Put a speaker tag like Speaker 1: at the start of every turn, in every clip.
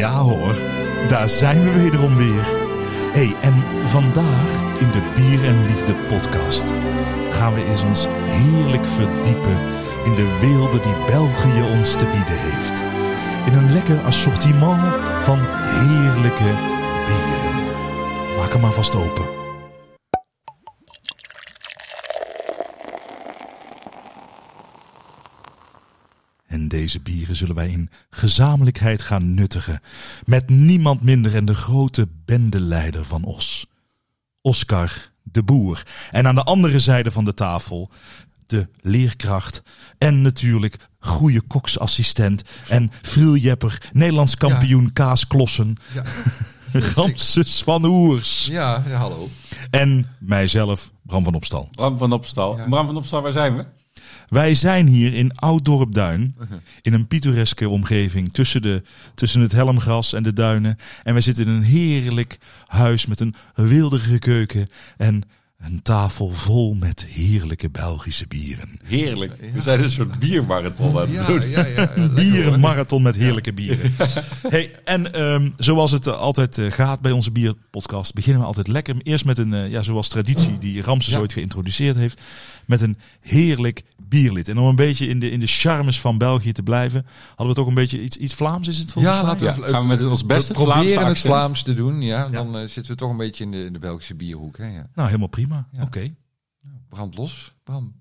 Speaker 1: Ja hoor, daar zijn we wederom weer. hey, en vandaag in de Bier en Liefde podcast gaan we eens ons heerlijk verdiepen in de werelden die België ons te bieden heeft. In een lekker assortiment van heerlijke bieren. Maak hem maar vast open. En deze bieren zullen wij in gezamenlijkheid gaan nuttigen. Met niemand minder en de grote bendeleider van Os. Oscar de Boer. En aan de andere zijde van de tafel de leerkracht. En natuurlijk goede koksassistent. En friljepper, Nederlands kampioen kaasklossen.
Speaker 2: Ja,
Speaker 1: Ramses van Oers.
Speaker 2: ja, ja, hallo.
Speaker 1: En mijzelf, Bram van Opstal.
Speaker 3: Bram van Opstal.
Speaker 2: Ja.
Speaker 3: Bram van Opstal, waar zijn we?
Speaker 1: Wij zijn hier in Ouddorpduin, in een pittoreske omgeving tussen, de, tussen het helmgras en de duinen. En wij zitten in een heerlijk huis met een weelderige keuken en een tafel vol met heerlijke Belgische bieren.
Speaker 3: Heerlijk. We zijn dus een soort biermarathon aan het
Speaker 2: Ja,
Speaker 3: doen.
Speaker 2: ja, ja. lekker, hoor.
Speaker 1: Bierenmarathon met heerlijke bieren. Hey, en ehm, zoals het eh, altijd eh, gaat bij onze bierpodcast, beginnen we altijd lekker. Eerst met een, eh, ja, zoals traditie die Ramses
Speaker 2: Ja.
Speaker 1: ooit geïntroduceerd heeft, met een heerlijk bierlid. En om een beetje in de, in de charmes van België te blijven, hadden we het ook een beetje iets, iets Vlaams is het volgens
Speaker 2: Ja,
Speaker 1: mij?
Speaker 2: laten we,
Speaker 3: Ja, gaan we met ons beste
Speaker 2: we proberen
Speaker 3: Vlaamse
Speaker 2: het
Speaker 3: accent.
Speaker 2: Vlaams te doen. Ja,
Speaker 1: Ja.
Speaker 2: dan eh, zitten we toch een beetje in de, in de Belgische bierhoek. Hè, ja.
Speaker 1: Nou, helemaal prima.
Speaker 2: Ja.
Speaker 1: Oké.
Speaker 2: Brand los, Bram.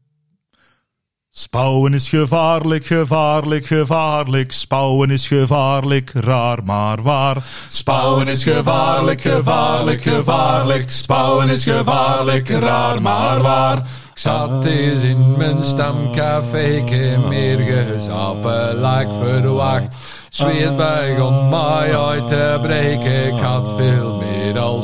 Speaker 1: Spouwen is gevaarlijk, gevaarlijk, gevaarlijk. Spouwen is gevaarlijk, raar maar waar. Spouwen is gevaarlijk, gevaarlijk, gevaarlijk. Spouwen is gevaarlijk, raar maar waar.
Speaker 2: Ik zat eens in mijn stamcafé, ik heb meer gezapen, laak verwacht. Het Zweet begon mij uit te breken, ik had veel meer dan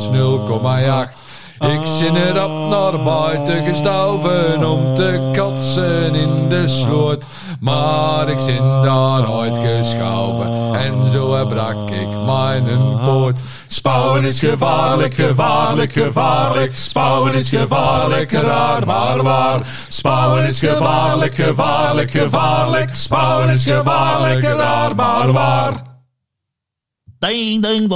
Speaker 2: 0,8. Ik zin erop naar buiten gestoven om te kotsen in de sloot. Maar ik zin daaruit geschoven en zo brak ik mijn poot. Spouwen is gevaarlijk, gevaarlijk, gevaarlijk. Spouwen is gevaarlijk, raar maar waar. Spouwen is gevaarlijk, gevaarlijk, gevaarlijk. Spouwen is gevaarlijk, raar maar waar.
Speaker 1: Ding ding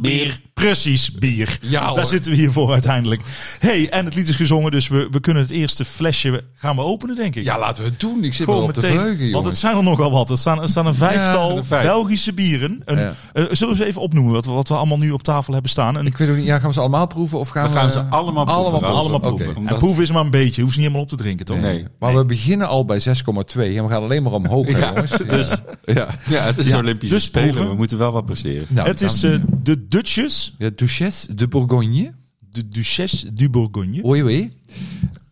Speaker 1: Bier. Precies, bier.
Speaker 2: Ja, hoor.
Speaker 1: Daar zitten we hier voor uiteindelijk. hey, en het lied is gezongen, dus we, we kunnen het eerste flesje gaan we openen, denk ik.
Speaker 2: Ja, laten we het doen. Ik zit wel
Speaker 1: Gewoon
Speaker 2: op de
Speaker 1: meteen.
Speaker 2: vreugde,
Speaker 1: want het
Speaker 2: jongens.
Speaker 1: zijn er nogal wat. Er staan, er staan een vijftal
Speaker 3: er vijf.
Speaker 1: Belgische bieren. Een,
Speaker 2: Ja.
Speaker 1: eh, zullen we ze even opnoemen wat, we- wat we allemaal nu op tafel hebben staan? En,
Speaker 2: Ik weet ook niet, ja, gaan we ze allemaal proeven of gaan we...
Speaker 3: We gaan ze allemaal proeven.
Speaker 2: Allemaal proeven.
Speaker 3: Allemaal
Speaker 2: Oké.
Speaker 3: proeven.
Speaker 1: en proeven is maar een beetje. Je hoeft ze niet helemaal op te drinken, toch?
Speaker 3: Nee.
Speaker 2: Maar we beginnen al bij 6,2 en we gaan alleen maar omhoog, hè, jongens. Ja.
Speaker 3: Dus
Speaker 2: ja.
Speaker 3: ja, het is
Speaker 1: Ja,
Speaker 3: Olympische
Speaker 1: dus
Speaker 3: Spelen.
Speaker 1: proeven.
Speaker 3: We moeten wel wat presteren.
Speaker 2: Nou,
Speaker 1: het is
Speaker 2: dan-
Speaker 1: eh, de Duchess,
Speaker 2: ja, Duchesse de Bourgogne.
Speaker 1: de Duchesse du Bourgogne.
Speaker 2: Oei, oei.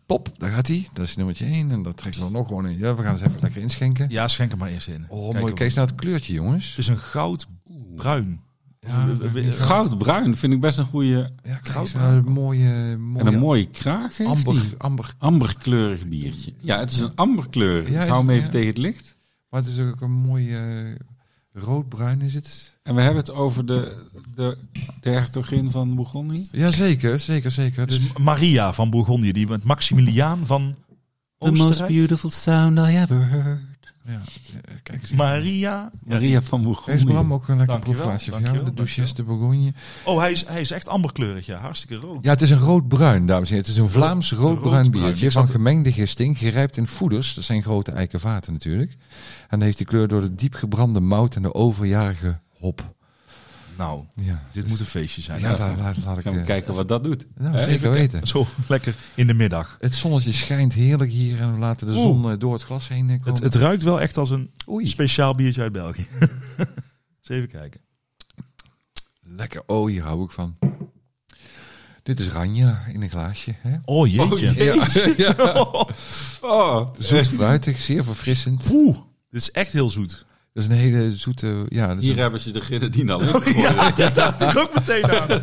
Speaker 2: Top, daar gaat hij. Dat is nummertje 1 en dat trekken we nog gewoon in. Ja, we gaan ze even lekker inschenken.
Speaker 1: Ja, schenk hem maar eerst in. Kijken
Speaker 2: Oh, mooi.
Speaker 1: we-
Speaker 2: Kijk eens naar het kleurtje, jongens.
Speaker 1: Het is een goudbruin.
Speaker 2: Ja,
Speaker 3: Goudbruin vind ik best een goede...
Speaker 2: Ja, kijk eens naar het mooie, mooie,
Speaker 3: En een mooie kraag heeft
Speaker 2: amber,
Speaker 3: die.
Speaker 2: amber.
Speaker 3: Amberkleurig biertje. Ja, het is een amberkleur.
Speaker 2: Ja,
Speaker 3: ik hou hem
Speaker 2: is-
Speaker 3: even
Speaker 2: ja.
Speaker 3: tegen het licht.
Speaker 2: Maar het is ook een mooie eh, roodbruin is het.
Speaker 3: En we hebben het over de, de, de hertogin van Bourgondië.
Speaker 2: Ja, zeker, zeker, zeker. Dus,
Speaker 1: Dus Maria van Bourgondië, die met Maximiliaan van Oostenrijk.
Speaker 3: beautiful sound I ever heard.
Speaker 2: ja, eh, kijk eens.
Speaker 1: Maria.
Speaker 3: Maria van
Speaker 2: Is Bram
Speaker 3: Bourgondië.
Speaker 2: ook een lekker
Speaker 1: Dankjewel,
Speaker 2: proefglaasje voor jou?
Speaker 1: dankjewel,
Speaker 2: De douches de Bourgogne.
Speaker 1: Oh, hij is, hij is echt amberkleurig, ja. Hartstikke rood.
Speaker 2: Ja, het is een roodbruin, dames en heren. Het is een Vlaams roodbruin
Speaker 1: roodbruin. Ik
Speaker 2: biertje
Speaker 1: zat
Speaker 2: van
Speaker 1: er-
Speaker 2: gemengde gisting, gerijpt in voeders. Dat zijn grote eikenvaten natuurlijk. En heeft die kleur door de diep gebrande mout en de overjarige hop.
Speaker 1: Nou,
Speaker 2: Ja,
Speaker 1: dit moet een feestje zijn.
Speaker 2: ja, laat, laat, laat ik...
Speaker 3: Gaan we
Speaker 2: eh,
Speaker 3: kijken wat dat doet.
Speaker 2: nou,
Speaker 3: Hè?
Speaker 2: zeker weten.
Speaker 1: Zo lekker in de middag.
Speaker 2: Het zonnetje schijnt heerlijk hier en we laten de
Speaker 1: Oeh.
Speaker 2: zon eh, door het glas heen eh,
Speaker 1: Het,
Speaker 2: komen.
Speaker 1: het ruikt wel echt als een
Speaker 2: Oei,
Speaker 1: speciaal biertje uit België. Eens even kijken.
Speaker 2: lekker. Oh, hier hou ik van. Dit is Ranja in een glaasje. Hè?
Speaker 1: Oh jeetje.
Speaker 2: Ja, ja.
Speaker 3: Oh,
Speaker 2: Zoet fruitig, zeer verfrissend.
Speaker 1: Oeh, dit is echt heel zoet.
Speaker 2: Dat is een hele zoete... Ja, dat is
Speaker 3: hier
Speaker 2: een-
Speaker 3: hebben ze de grenadine al in gegooid.
Speaker 1: Oh, Ja, dat dacht ik ook meteen aan.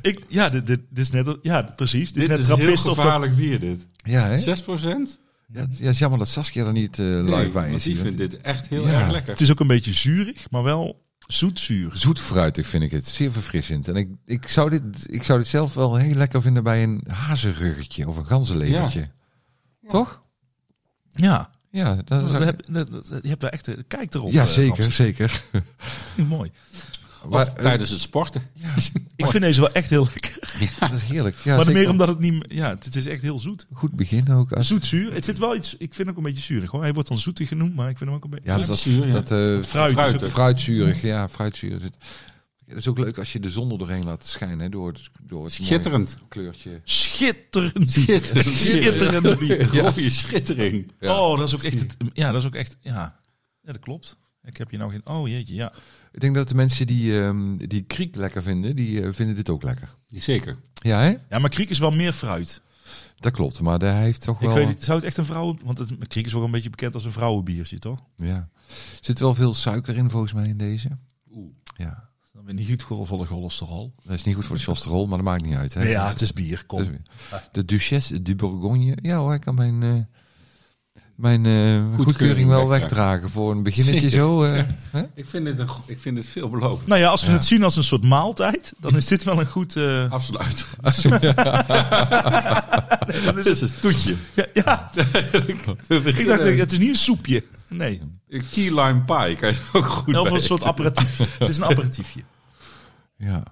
Speaker 1: Ik, ja, dit, dit, dit is net, al- ja, precies. Dit, is
Speaker 3: Dit
Speaker 1: net
Speaker 3: is heel
Speaker 1: trappist of dat-
Speaker 3: gevaarlijk bier, dit.
Speaker 2: ja, hè?
Speaker 3: 6 procent?
Speaker 2: Ja, het ja, het is jammer dat Saskia er niet eh, live bij is.
Speaker 3: die
Speaker 2: hier.
Speaker 3: vindt dit echt heel
Speaker 2: Ja.
Speaker 3: erg
Speaker 1: Het
Speaker 3: lekker.
Speaker 1: is ook een beetje zuurig, maar wel zoetzuur.
Speaker 2: Zoetfruitig vind ik het. Zeer verfrissend. En ik, ik, zou dit, ik zou dit zelf wel heel lekker vinden bij een hazenruggetje of een ganzenlevertje. Toch?
Speaker 1: Ja.
Speaker 2: Ja, dat
Speaker 1: Oh, Dat
Speaker 2: is ook-
Speaker 1: heb- dat- dat- je hebt daar echt eh, kijk erop.
Speaker 2: ja
Speaker 1: eh,
Speaker 2: zeker,
Speaker 1: Ramses.
Speaker 2: zeker.
Speaker 1: Vind ik mooi.
Speaker 3: Of
Speaker 2: Maar, eh,
Speaker 3: tijdens het sporten.
Speaker 2: ja,
Speaker 1: Ik vind deze wel echt heel lekker.
Speaker 2: dat is heerlijk. Ja,
Speaker 1: maar
Speaker 2: zeker.
Speaker 1: meer omdat het niet. Ja, het, het is echt heel zoet.
Speaker 2: Goed begin ook. Als,
Speaker 1: Zoet-zuur. Het zit wel iets. Ik vind ook een beetje zuurig hoor. Hij wordt dan zoetig genoemd, maar ik vind hem ook een beetje.
Speaker 2: ja, dat, dat,
Speaker 3: zuur, ja.
Speaker 2: dat eh,
Speaker 1: fruit.
Speaker 3: fruit,
Speaker 1: is ook-
Speaker 3: hè?
Speaker 2: fruitzuurig. Ja, fruitzuurig. Het is ook leuk als je de zon er doorheen laat schijnen. hè, Door het, door het mooie
Speaker 3: Schitterend.
Speaker 2: kleurtje.
Speaker 1: Schitterend bier. Schitterend bier.
Speaker 3: Rode schittering.
Speaker 2: Ja.
Speaker 1: Oh, dat is ook echt. Het, ja, dat is ook echt. Ja. ja, dat klopt. Ik heb hier nou geen. Oh jeetje, ja.
Speaker 2: Ik denk dat de mensen die, ehm, die kriek lekker vinden, die eh, vinden dit ook lekker.
Speaker 3: Oh, Zeker.
Speaker 2: Ja, hè?
Speaker 1: Ja, maar kriek is wel meer fruit.
Speaker 2: Dat klopt. Maar hij heeft toch wel...
Speaker 1: Ik weet niet, zou het echt een vrouw... Want het, kriek is ook een beetje bekend als een vrouwenbiertje, toch?
Speaker 2: Ja. Er zit wel veel suiker in volgens mij in deze.
Speaker 3: Oeh.
Speaker 2: Ja.
Speaker 1: Dan ben je niet goed voor de cholesterol.
Speaker 2: Dat is niet goed voor de cholesterol, maar dat maakt niet uit. Hè?
Speaker 1: Nee, ja, het is bier, kom.
Speaker 2: Dat is- De Duchesse de Bourgogne. Ja hoor, ik kan mijn, eh, mijn eh, goedkeuring wel
Speaker 3: wegdragen.
Speaker 2: wegdragen voor een beginnetje zo. eh, hè?
Speaker 3: Ik vind dit, een, go- ik vind dit veelbelovend.
Speaker 1: Nou ja, als we
Speaker 2: Ja.
Speaker 1: het zien als een soort maaltijd, dan is dit wel een goed... eh,
Speaker 3: Absoluut.
Speaker 1: Ah, dan is het een toetje. Ah. Ja, ja. ik dacht, het is niet een soepje. Nee,
Speaker 3: eh, Een key lime pie kan je ook goed
Speaker 1: wel
Speaker 3: bij.
Speaker 1: een soort aperitiefje. het is een aperitiefje.
Speaker 2: Ja.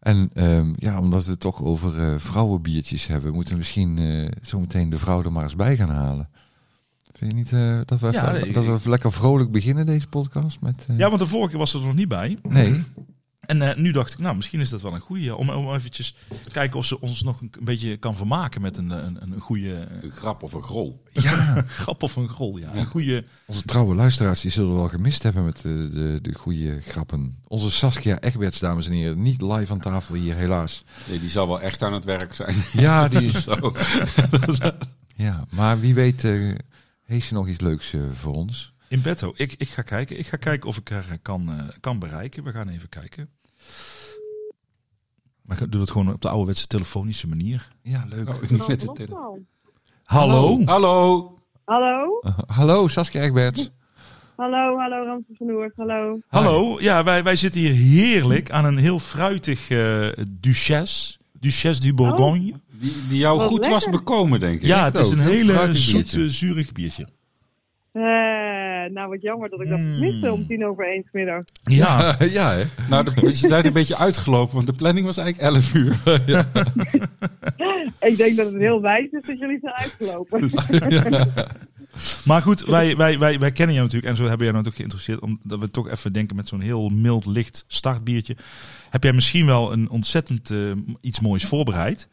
Speaker 2: En ehm, ja, omdat we het toch over eh, vrouwenbiertjes hebben, moeten we misschien eh, zometeen de vrouw er maar eens bij gaan halen. Vind je niet eh, dat, we even,
Speaker 1: Ja, nee,
Speaker 2: dat we
Speaker 1: ik-
Speaker 2: even lekker vrolijk beginnen deze podcast? Met, eh,
Speaker 1: Ja, want de vorige keer was er nog niet bij.
Speaker 2: Nee,
Speaker 1: En eh, nu dacht ik, nou, misschien is dat wel een goeie. Om, om eventjes kijken of ze ons nog een, beetje kan vermaken met een, eh, een, een goede
Speaker 3: Een grap of een grol.
Speaker 2: ja,
Speaker 1: grap of een rol. Ja. Een goede...
Speaker 2: onze trouwe luisteraars die zullen wel gemist hebben met de, de, de goede grappen. Onze Saskia Egberts, dames en heren, niet live aan tafel hier helaas.
Speaker 3: Nee, die zal wel echt aan het werk zijn.
Speaker 2: Ja, die is...
Speaker 3: Zo.
Speaker 2: ja maar wie weet eh, heeft ze nog iets leuks eh, voor ons.
Speaker 1: In petto. Ik, ik ga kijken. Ik ga kijken of ik haar eh, kan, eh, kan bereiken. We gaan even kijken. Maar ik doe het gewoon op de ouderwetse telefonische manier.
Speaker 2: Ja, leuk.
Speaker 3: Oh, niet met de tele-
Speaker 1: Hallo.
Speaker 3: Hallo.
Speaker 4: nou? Hallo,
Speaker 2: Ah. hallo Saskia Egberts.
Speaker 4: hallo, hallo Ramses van Noord, hallo.
Speaker 1: Hallo. Ja, wij, wij zitten hier heerlijk aan een heel fruitig eh Duchesse. Duchesse du Bourgogne.
Speaker 3: Die, die jou
Speaker 4: Wat
Speaker 3: goed was
Speaker 4: lekker.
Speaker 3: bekomen, denk ik. Oh.
Speaker 1: ja, het is
Speaker 2: ook.
Speaker 1: een
Speaker 2: Heel
Speaker 1: hele
Speaker 2: fruitig
Speaker 1: zoet,
Speaker 2: biertje.
Speaker 1: eh, zuurig biertje.
Speaker 4: Eh, nou, wat jammer dat ik dat
Speaker 1: Mm.
Speaker 4: miste om tien over één 's middag.
Speaker 1: Ja.
Speaker 2: ja, hè?
Speaker 3: Nou, de, is daar een beetje uitgelopen, want de planning was eigenlijk 11 uur.
Speaker 4: Ik denk dat het heel wijs is dat jullie zijn uitgelopen.
Speaker 1: Maar goed, wij, wij, wij, wij kennen jou natuurlijk. En zo hebben jij nou ook geïnteresseerd. Omdat we toch even denken met zo'n heel mild, licht startbiertje. Heb jij misschien wel een ontzettend eh, iets moois voorbereid.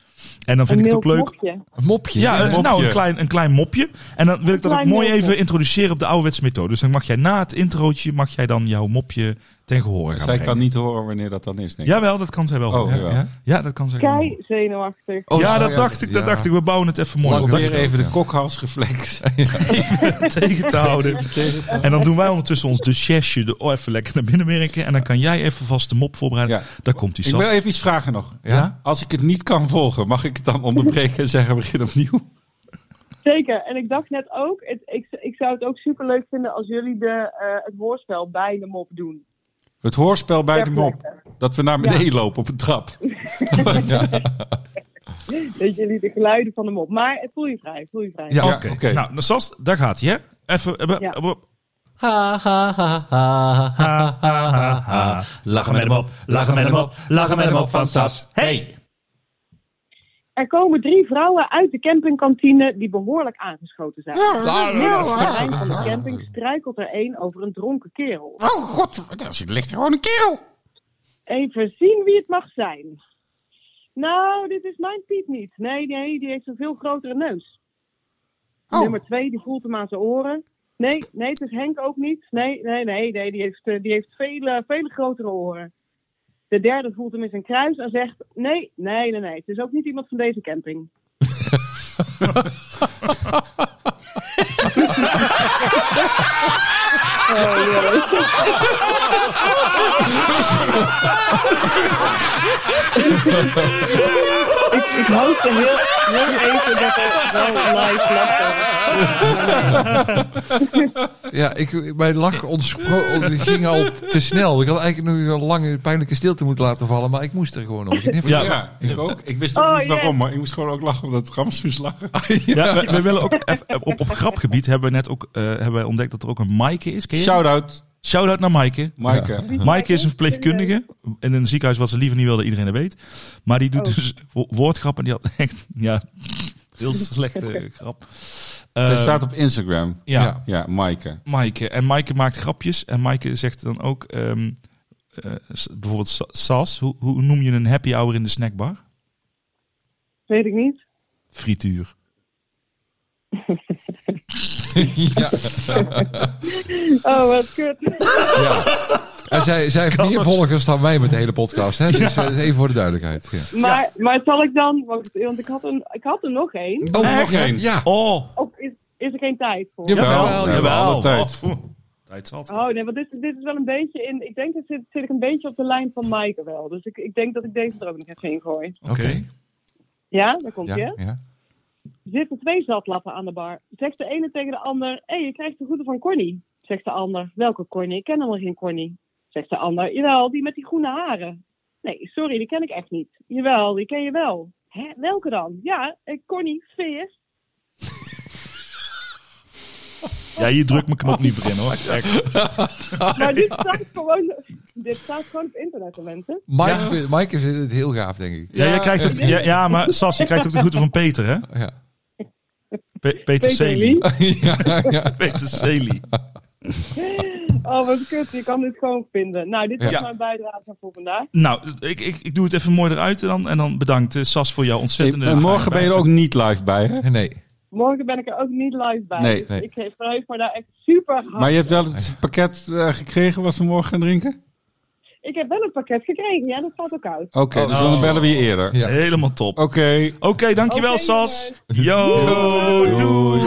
Speaker 1: En dan vind
Speaker 4: een
Speaker 1: ik het
Speaker 4: mild
Speaker 1: ook leuk
Speaker 4: mopje.
Speaker 2: Een mopje.
Speaker 1: Ja,
Speaker 2: hè?
Speaker 1: eh, nou, een klein, een klein mopje. En dan wil ik dat ook
Speaker 4: klein
Speaker 1: mooi
Speaker 4: mopje.
Speaker 1: even introduceren op de ouderwetse methode. Dus dan mag jij na het introotje, mag jij dan jouw mopje ten gehoor gaan
Speaker 3: Zij
Speaker 1: brengen.
Speaker 3: Dus kan niet horen wanneer dat dan is, denk ik.
Speaker 1: Jawel, dat kan zij wel.
Speaker 3: Oh.
Speaker 1: Ja,
Speaker 2: Ja, ja.
Speaker 1: dat kan zij wel.
Speaker 4: Kei zenuwachtig.
Speaker 2: Oh,
Speaker 1: ja,
Speaker 2: zo,
Speaker 1: dat dacht ik, dat
Speaker 2: ja.
Speaker 1: dacht ik. We bouwen het even mooi op.
Speaker 2: Lang
Speaker 1: Dat
Speaker 3: Probeer
Speaker 2: Ja.
Speaker 3: even
Speaker 2: Ja.
Speaker 3: de kokhalsreflex.
Speaker 1: tegen te houden. En dan doen wij ondertussen ons duchesje de oh, even lekker naar binnen werken. En dan kan jij even vast de mop voorbereiden.
Speaker 3: Ja.
Speaker 1: Daar komt die
Speaker 3: Ik
Speaker 1: Sas.
Speaker 3: wil even iets vragen nog.
Speaker 2: Ja?
Speaker 3: Als ik het niet kan volgen, mag ik het dan onderbreken en zeggen begin opnieuw?
Speaker 4: Zeker, en ik dacht net ook, het, ik, ik zou het ook super leuk vinden als jullie de, eh, het hoorspel bij de mop doen.
Speaker 3: Het hoorspel bij
Speaker 4: Ter
Speaker 3: de mop.
Speaker 4: plekke.
Speaker 3: Dat we naar beneden lopen op een trap.
Speaker 4: Dat jullie de geluiden van de mop. Maar eh, voel je vrij, voel je vrij.
Speaker 2: Ja.
Speaker 1: Oké,
Speaker 3: Ja, oké.
Speaker 1: nou nou, Sas, daar gaat hij, hè? Even... eh,
Speaker 4: Ja.
Speaker 1: eh, eh,
Speaker 5: Ha ha ha ha ha ha ha ha. Lachen met hem op, lachen met hem op, lachen met hem op van Sas. Hey!
Speaker 4: Er komen drie vrouwen uit de campingkantine die behoorlijk aangeschoten zijn. Midden op het terrein van de camping struikelt er één over een dronken kerel.
Speaker 3: Oh god, daar zit- ligt gewoon een kerel.
Speaker 4: Even zien wie het mag zijn. Nou, dit is mijn Piet niet. Nee, nee, die heeft een veel grotere neus.
Speaker 3: Oh.
Speaker 4: Nummer twee, die voelt hem aan zijn oren. Nee, nee, het is Henk ook niet. Nee, nee, nee, nee die heeft, eh, die heeft vele, vele grotere oren. De derde voelt hem in zijn kruis en zegt... Nee, nee, nee, nee, het is ook niet iemand van deze camping. oh, jongens. ik, ik hoopte heel, heel even dat er wel live lachen
Speaker 2: Ja, ik, mijn lach ontspro- die ging al te snel. Ik had eigenlijk nu een lange pijnlijke stilte moeten laten vallen, maar ik moest er gewoon op.
Speaker 1: Ja.
Speaker 3: Ja, ik ook. Ik wist ook
Speaker 4: Oh,
Speaker 3: niet
Speaker 4: yeah.
Speaker 3: waarom, maar ik moest gewoon ook lachen omdat Rams moest lachen.
Speaker 1: Ja, we, we willen ook even- op, op grapgebied hebben we net ook eh, hebben wij ontdekt dat er ook een Maaike is. Ken je?
Speaker 3: Shout-out,
Speaker 1: Shout-out naar Maaike.
Speaker 3: Maaike.
Speaker 1: Maaike is een verpleegkundige in een ziekenhuis wat ze liever niet wilde iedereen dat weet. Maar die doet
Speaker 4: Oh.
Speaker 1: dus wo- woordgrappen. Die had echt ja, heel slechte grap.
Speaker 3: Zij
Speaker 1: Eh,
Speaker 3: staat op Instagram.
Speaker 1: ja,
Speaker 2: Ja.
Speaker 3: Ja, Maaike.
Speaker 1: Maaike. En Maaike maakt grapjes. En Maaike zegt dan ook ehm, eh, s- bijvoorbeeld sa- Sas. Hoe, hoe noem je een happy hour in de snackbar?
Speaker 4: Weet ik niet.
Speaker 1: Frituur.
Speaker 2: Ja,
Speaker 4: Oh, wat kut.
Speaker 2: ja. En zij, zij heeft meer volgers dan wij met de hele podcast. Hè? Dus eh, even voor de duidelijkheid. Ja.
Speaker 4: Maar, maar zal ik dan, want, want ik, had een, ik had er nog één.
Speaker 2: Oh,
Speaker 3: Echt?
Speaker 2: nog één. Ja.
Speaker 1: Oh,
Speaker 4: Of is, is er geen tijd voor?
Speaker 2: Jawel,
Speaker 1: jawel.
Speaker 2: jawel.
Speaker 1: Jawel.
Speaker 3: Alle tijd.
Speaker 1: Oh, tijd zat.
Speaker 4: Oh nee, want dit, dit is wel een beetje in. Ik denk dat zit, zit ik een beetje op de lijn van Maaike wel. Dus ik, ik denk dat ik deze er ook nog even in gooi.
Speaker 1: Oké.
Speaker 4: Ja, daar komt
Speaker 2: Ja,
Speaker 4: je.
Speaker 2: ja.
Speaker 4: Er zitten twee zatlappen aan de bar. Zegt de ene tegen de ander: Hé, je krijgt de groeten van Corny. Zegt de ander: Welke Corny? Ik ken helemaal geen Corny. Zegt de ander: Jawel, die met die groene haren. Nee, sorry, die ken ik echt niet. Jawel, die ken je wel. Hè, welke dan? Ja, eh, Corny, Veers.
Speaker 1: Ja, je drukt mijn knop niet voor in hoor. Echt.
Speaker 4: Maar dit staat gewoon, dit staat gewoon op internet, mensen.
Speaker 2: Mike, vindt- Mike is het heel gaaf, denk ik.
Speaker 1: Ja, jij krijgt het, ja, ja, maar Sas, je krijgt ook de groeten van Peter, hè?
Speaker 2: Ja.
Speaker 1: Pe- Peter
Speaker 4: Peter
Speaker 1: Sely.
Speaker 4: Lee.
Speaker 2: ja, ja.
Speaker 1: Peter Sely.
Speaker 4: Oh, wat kut. Je kan dit gewoon vinden. Nou, dit was
Speaker 1: Ja.
Speaker 4: mijn bijdrage voor vandaag.
Speaker 1: Nou, ik, ik, ik doe het even mooi eruit en dan. En dan bedankt eh, Sas voor jouw ontzettende...
Speaker 3: En morgen ben je er ook niet live bij, hè?
Speaker 5: Oh.
Speaker 2: Nee.
Speaker 4: Morgen ben ik er ook niet live bij.
Speaker 3: Nee,
Speaker 4: dus
Speaker 3: nee.
Speaker 4: ik geef- verheug me daar echt super hard.
Speaker 3: Maar je hebt wel het pakket eh, gekregen wat we morgen gaan drinken?
Speaker 4: Ik heb wel een pakket gekregen. Ja, dat valt ook uit.
Speaker 3: Oké, dus dan bellen we je eerder.
Speaker 2: Ja.
Speaker 1: Helemaal top.
Speaker 3: Oké.
Speaker 1: Oké, dankjewel
Speaker 4: Oké,
Speaker 1: Sas. Yo, doei.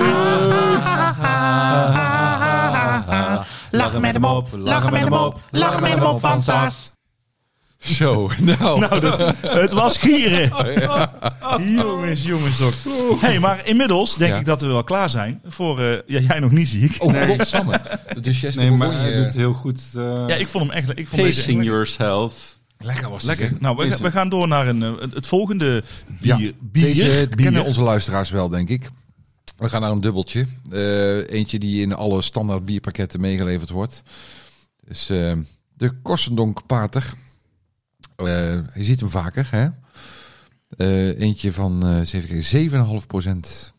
Speaker 5: Lachen met hem op, lachen met hem op, lachen met hem op van Sas.
Speaker 2: Zo, nou.
Speaker 1: Nou, dat, het was gieren. Jongens, jongens toch. hey, maar inmiddels denk
Speaker 2: Ja.
Speaker 1: ik dat we wel klaar zijn. Voor, eh, ja, jij nog niet, zie ik.
Speaker 2: Oh, godsamme. Dus Chester
Speaker 3: Nee, maar
Speaker 2: Bourgogne,
Speaker 3: hij
Speaker 2: eh,
Speaker 3: doet het heel goed. eh
Speaker 1: Ja, ik vond hem echt... Ik vond deze echt
Speaker 3: pacing
Speaker 1: lekker.
Speaker 3: yourself.
Speaker 2: Lekker was het.
Speaker 1: Lekker.
Speaker 2: hè?
Speaker 1: Nou, we,
Speaker 2: Deze-
Speaker 1: we gaan door naar een, eh, het volgende bier.
Speaker 2: Ja,
Speaker 1: bier.
Speaker 2: Deze
Speaker 1: bier.
Speaker 2: kennen onze luisteraars wel, denk ik. We gaan naar een dubbeltje. Eh, eentje die in alle standaard bierpakketten meegeleverd wordt. Dus eh, de Kossendonk Pater. Eh, je ziet hem vaker, hè? Eh, eentje van eh, eens even kijken, 7,5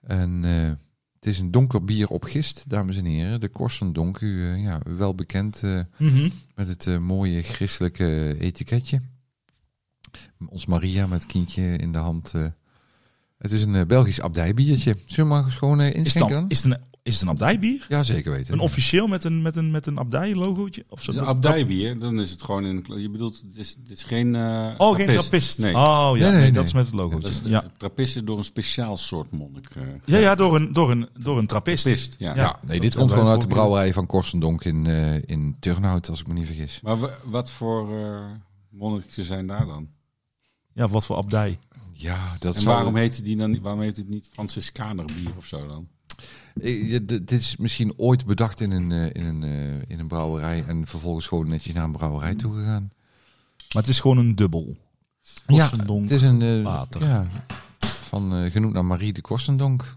Speaker 2: En eh, het is een donker bier op gist, dames en heren. De Kossendonk, u, eh, ja, u wel bekend eh,
Speaker 1: Mhm.
Speaker 2: met het eh, mooie christelijke etiketje. Ons Maria met het kindje in de hand. eh. Het is een eh, Belgisch abdijbiertje. Zullen we maar eens gewoon eh,
Speaker 1: Is, het
Speaker 2: inschenken
Speaker 1: dan,
Speaker 2: dan?
Speaker 1: is, het een, is het een abdijbier?
Speaker 2: Ja, zeker weten.
Speaker 1: Een officieel met een, met een, met een abdij-logootje? Of zo?
Speaker 3: Een abdijbier, dan is het gewoon in. Je bedoelt, het is, het is geen. eh
Speaker 1: Oh, geen trappist.
Speaker 3: Nee.
Speaker 1: Oh ja,
Speaker 2: Nee,
Speaker 1: nee,
Speaker 2: nee, nee.
Speaker 1: dat is met het logootje.
Speaker 3: Dat is de,
Speaker 1: ja.
Speaker 3: Trappisten door een speciaal soort monnik. eh,
Speaker 1: Ja, ja, door een, door een, door een trappist.
Speaker 3: Trappist, ja.
Speaker 2: ja, nee, dit
Speaker 1: Dat
Speaker 2: komt gewoon
Speaker 1: wij
Speaker 2: uit de
Speaker 1: voor-
Speaker 2: brouwerij van Korstendonk in, eh, in Turnhout, als ik me niet vergis.
Speaker 3: Maar wa- wat voor eh, monniken zijn daar dan?
Speaker 1: Ja, wat voor abdij.
Speaker 2: Ja, dat
Speaker 3: En
Speaker 2: zou-
Speaker 3: waarom heet, die dan, niet- waarom heet het niet Franciscaner bier of zo dan?
Speaker 2: Eh, ja, d- dit is misschien ooit bedacht in een, eh, in, een, eh, in een brouwerij en vervolgens gewoon netjes naar een brouwerij toegegaan.
Speaker 1: Maar het is gewoon een dubbel.
Speaker 2: ja,
Speaker 1: Korsendonk.
Speaker 2: het is een eh,
Speaker 1: Pater.
Speaker 2: ja, van eh, genoemd naar Marie de Korstendonk.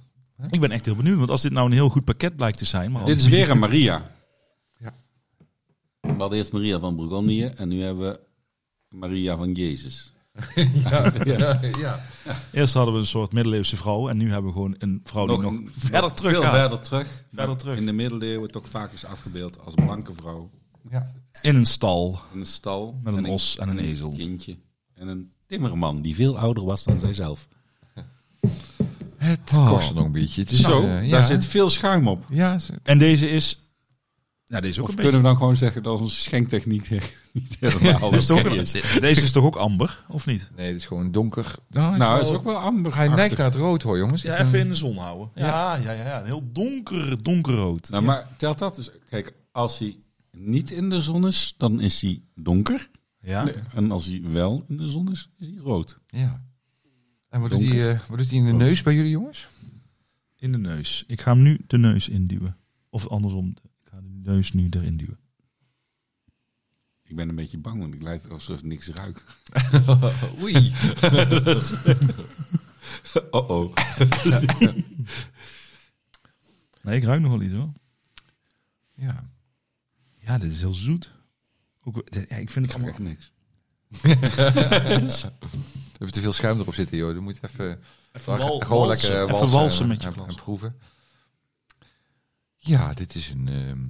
Speaker 1: Ik ben echt heel benieuwd, want als dit nou een heel goed pakket blijkt te zijn... Maar
Speaker 3: Dit is weer een Maria.
Speaker 2: Ja.
Speaker 3: We hadden eerst Maria van Bourgondië en nu hebben we Maria van Jezus.
Speaker 2: ja.
Speaker 1: Eerst hadden we een soort middeleeuwse vrouw en nu hebben we gewoon een vrouw die nog,
Speaker 3: een-
Speaker 1: verder terug
Speaker 3: veel
Speaker 1: gaat.
Speaker 3: verder terug.
Speaker 1: Verder terug.
Speaker 3: In de middeleeuwen toch vaak is afgebeeld als blanke vrouw
Speaker 2: ja.
Speaker 1: In een stal.
Speaker 3: in een stal.
Speaker 1: Met een os en een ezel.
Speaker 3: kindje. En een timmerman die veel ouder was dan zijzelf.
Speaker 2: Het oh. biertje. Het is
Speaker 3: Zo,
Speaker 2: eh, ja.
Speaker 3: daar zit veel schuim op.
Speaker 2: Ja, ze-
Speaker 1: En deze is... Ja, deze is ook
Speaker 3: Of
Speaker 1: een
Speaker 3: kunnen
Speaker 1: beetje...
Speaker 3: we dan gewoon zeggen dat onze schenktechniek niet helemaal
Speaker 1: Dit is toch ook
Speaker 3: oké
Speaker 1: een-
Speaker 3: is?
Speaker 1: deze is toch ook amber, of niet?
Speaker 2: nee, het is gewoon donker.
Speaker 3: Nou, het is ook wel amber.
Speaker 2: Hij neigt naar het rood hoor, jongens.
Speaker 1: Ja,
Speaker 2: Ik vind-
Speaker 1: even in de zon houden. Ja, ja, ja. ja. Heel donker, donkerrood.
Speaker 3: Nou, maar telt dat dus. Kijk, als hij niet in de zon is, dan is hij donker.
Speaker 1: Ja.
Speaker 3: Nee, En als hij wel in de zon is, is hij rood.
Speaker 2: Ja. En wat doet, hij, eh, wat doet hij in de neus bij jullie jongens?
Speaker 1: In de neus. Ik ga hem nu de neus induwen. Of andersom, ik ga de neus nu erin duwen.
Speaker 3: Ik ben een beetje bang, want ik lijkt alsof ik niks ruik.
Speaker 2: Oei.
Speaker 3: Oh oh.
Speaker 1: Nee, ik ruik nog wel iets hoor.
Speaker 2: Ja.
Speaker 1: Ja, dit is heel zoet. Ook, ja, ik vind het allemaal...
Speaker 3: Echt niks.
Speaker 2: We hebben te veel schuim erop zitten, joh. Dan moet je even,
Speaker 1: Even
Speaker 2: gewoon
Speaker 1: wal-
Speaker 2: lekker
Speaker 1: walsen.
Speaker 2: eh,
Speaker 1: Even
Speaker 2: walsen,
Speaker 1: walsen
Speaker 2: en-
Speaker 1: met je
Speaker 2: en-
Speaker 1: glas.
Speaker 2: en proeven. Ja, dit is een ehm,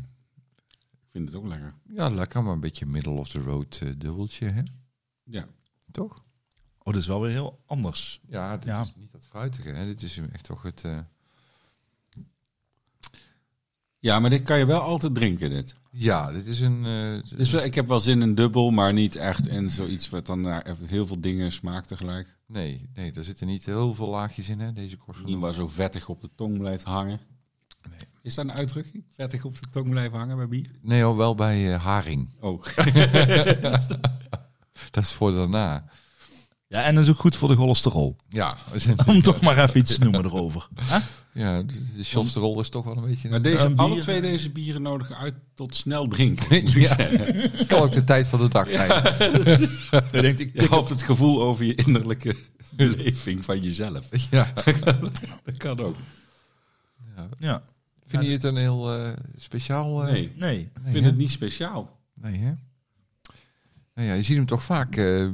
Speaker 3: Ik vind het ook lekker.
Speaker 2: ja, lekker, maar een beetje middle of the road eh, dubbeltje, hè?
Speaker 3: Ja.
Speaker 2: Toch?
Speaker 1: Oh, dat is wel weer heel anders.
Speaker 2: Ja, dit
Speaker 1: Ja.
Speaker 2: is niet dat fruitige, hè? Dit is echt toch het... eh,
Speaker 3: Ja, maar dit kan je wel altijd drinken, dit.
Speaker 2: ja, dit is een... eh,
Speaker 3: Dus wel- ik heb wel zin in dubbel, maar niet echt in zoiets wat dan naar echt heel veel dingen smaakt tegelijk.
Speaker 2: nee, nee, daar zitten niet heel veel laagjes in, hè? Deze korst van
Speaker 3: Niet
Speaker 2: de...
Speaker 3: waar zo vettig op de tong blijft hangen.
Speaker 2: Nee.
Speaker 3: Is dat een uitdrukking? Vettig op de tong blijven hangen bij bier?
Speaker 2: Nee, hoor, wel bij eh, haring.
Speaker 3: Oh,
Speaker 2: Dat is voor daarna.
Speaker 1: Ja, en dat is ook goed voor de cholesterol.
Speaker 2: Ja,
Speaker 1: Om toch maar even iets te noemen erover.
Speaker 2: ja de, de cholesterol is toch wel een beetje...
Speaker 3: maar deze,
Speaker 1: Een
Speaker 3: alle
Speaker 1: bier-
Speaker 3: twee deze bieren nodigen uit tot snel drinken. moet ik zeggen.
Speaker 2: kan ook de tijd van de dag zijn.
Speaker 1: Dan denk ik,
Speaker 3: Je hebt het gevoel over je innerlijke beleving van jezelf.
Speaker 2: Ja.
Speaker 3: Dat kan ook.
Speaker 1: ja,
Speaker 2: Vind je het een heel eh, speciaal? eh,
Speaker 3: Nee, ik
Speaker 1: nee.
Speaker 3: vind
Speaker 2: hè?
Speaker 3: het niet speciaal.
Speaker 2: Nee, hè? Nou ja, je ziet hem toch vaak, eh,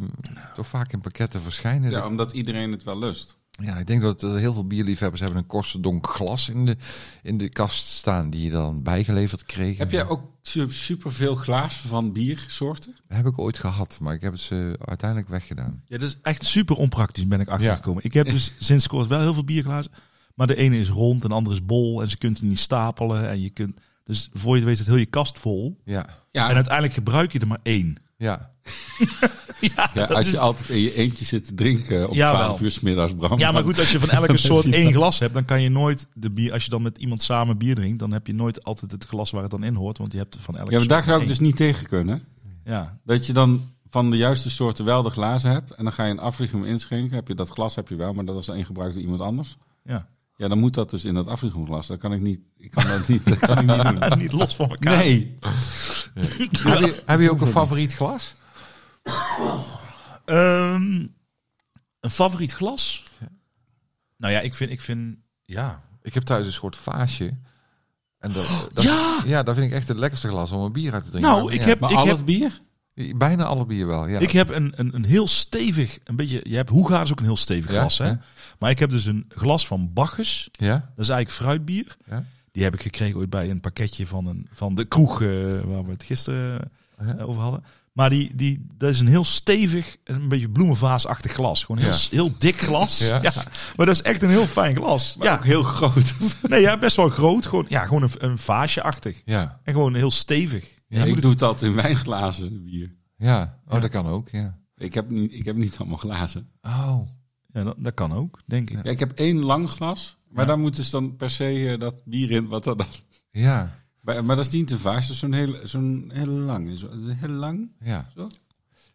Speaker 2: toch vaak in pakketten verschijnen.
Speaker 3: Ja,
Speaker 2: Ja.
Speaker 3: omdat iedereen het wel lust.
Speaker 2: ik denk dat er heel veel bierliefhebbers hebben een korstendonk glas in de, in de kast staan die je dan bijgeleverd kreeg.
Speaker 3: Heb jij ook su- superveel glazen van biersoorten?
Speaker 2: Heb ik ooit gehad, maar ik heb het ze uiteindelijk weggedaan.
Speaker 1: Ja, dat is echt super onpraktisch, ben ik achtergekomen. Ik heb dus sinds kort wel heel veel bierglazen. Maar de ene is rond en de andere is bol. En ze kunt ze niet stapelen. En je kunt, dus voor je het weet is heel je kast vol.
Speaker 2: Ja,
Speaker 3: Ja,
Speaker 1: En uiteindelijk gebruik je er maar één.
Speaker 2: ja.
Speaker 3: ja, als je altijd in je eentje zit te drinken om
Speaker 1: Jawel.
Speaker 3: 12 uur 's middags, Bram.
Speaker 1: Ja, maar
Speaker 3: dan-
Speaker 1: goed, als je van elke soort één glas hebt, dan kan je nooit de bier. Als je dan met iemand samen bier drinkt, dan heb je nooit altijd het glas waar het dan in hoort. Want je hebt van elke
Speaker 3: Ja, maar
Speaker 1: soort
Speaker 3: daar zou ik
Speaker 1: één.
Speaker 3: dus niet tegen kunnen.
Speaker 1: Ja,
Speaker 3: Dat je dan van de juiste soorten wel de glazen hebt. En dan ga je een aflichting inschenken. Heb je dat glas heb je wel, maar dat was één gebruikt door iemand anders.
Speaker 1: ja.
Speaker 3: Ja, dan moet dat dus in dat aflichtingglas. Dat kan ik niet. Ik kan dat niet, dat kan ik niet doen.
Speaker 1: En niet los van elkaar.
Speaker 3: Nee.
Speaker 2: Heb, je, heb je ook een favoriet glas?
Speaker 1: Ehm, een favoriet glas? Nou ja, ik vind, ik vind ja.
Speaker 2: Ik heb thuis een soort vaasje. En dat, dat- Oh, ja! dat vind ik echt het lekkerste glas om een bier uit te drinken.
Speaker 1: Nou, ik
Speaker 2: Ja.
Speaker 1: heb,
Speaker 3: Maar
Speaker 1: ik
Speaker 3: al
Speaker 1: heb,
Speaker 3: het bier?
Speaker 2: Bijna alle bier wel, ja.
Speaker 1: ik heb een, een, een heel stevig, een beetje, je hebt Hoega is ook een heel stevig
Speaker 2: Ja,
Speaker 1: glas, hè?
Speaker 2: ja.
Speaker 1: Maar ik heb dus een glas van Bacchus.
Speaker 2: Ja?
Speaker 1: Dat is eigenlijk fruitbier.
Speaker 2: Ja.
Speaker 1: Die heb ik gekregen ooit bij een pakketje van, een, van de kroeg eh, waar we het gisteren eh,
Speaker 2: Ja.
Speaker 1: over hadden. Maar die, die, dat is een heel stevig, een beetje bloemenvaasachtig glas. Gewoon heel,
Speaker 2: Ja.
Speaker 1: s- heel dik glas.
Speaker 2: Ja.
Speaker 1: Ja. Maar dat is echt een heel fijn glas.
Speaker 3: Maar
Speaker 1: ja.
Speaker 3: ook heel groot.
Speaker 1: Nee, ja, best wel groot. Gewoon, ja, gewoon een, een vaasje-achtig.
Speaker 2: Ja.
Speaker 1: En gewoon heel stevig. Ja, je
Speaker 3: ik
Speaker 1: moet
Speaker 3: doe het altijd in wijnglazen bier.
Speaker 2: Ja, oh, dat kan ook, ja.
Speaker 3: Ik heb niet, ik heb niet allemaal glazen.
Speaker 2: Oh,
Speaker 1: het- ja, dat, dat kan ook, denk ik.
Speaker 3: Ja, ik heb één lang glas, maar daar moet dus dan per se eh, dat bier in. Wat er dan,
Speaker 2: ja,
Speaker 3: maar, maar dat is niet te vaas, dat is zo'n heel, zo'n heel lang. Zo, heel lang?
Speaker 2: ja.
Speaker 3: Zo?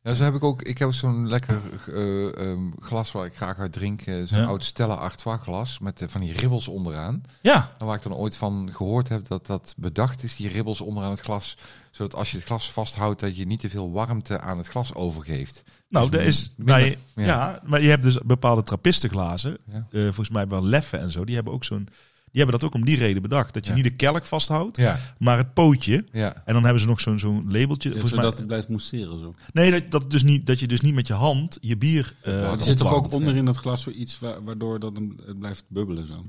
Speaker 2: Ja, zo heb ik ook, ik heb zo'n lekker eh, ehm, glas waar ik graag uit drink. eh, zo'n
Speaker 1: Ja.
Speaker 2: oud Stella Artois glas met eh, van die ribbels onderaan.
Speaker 1: Ja,
Speaker 2: En waar ik dan ooit van gehoord heb dat dat bedacht is, die ribbels onderaan het glas. Zodat als je het glas vasthoudt, dat je niet te veel warmte aan het glas overgeeft.
Speaker 1: nou,
Speaker 2: Dus
Speaker 1: dat is...
Speaker 2: minder-
Speaker 1: nou, je-
Speaker 2: ja.
Speaker 1: ja. maar je hebt dus bepaalde trappistenglazen.
Speaker 2: Ja.
Speaker 1: Eh, volgens mij wel leffen en zo. Die hebben ook zo'n... Die hebben dat ook om die reden bedacht. Dat je
Speaker 2: Ja.
Speaker 1: niet de kelk vasthoudt,
Speaker 2: Ja,
Speaker 1: maar het pootje.
Speaker 2: ja.
Speaker 1: En dan hebben ze nog zo'n zo'n labeltje.
Speaker 3: Ja,
Speaker 1: volgens mij,
Speaker 3: zodat het blijft moesteren zo.
Speaker 1: nee, dat, dat, dus niet, dat je dus niet met je hand je bier... eh,
Speaker 2: Want
Speaker 3: Er zit toch
Speaker 1: opwarmt.
Speaker 3: ook onder in dat glas zoiets wa- waardoor dat hem- het blijft bubbelen zo.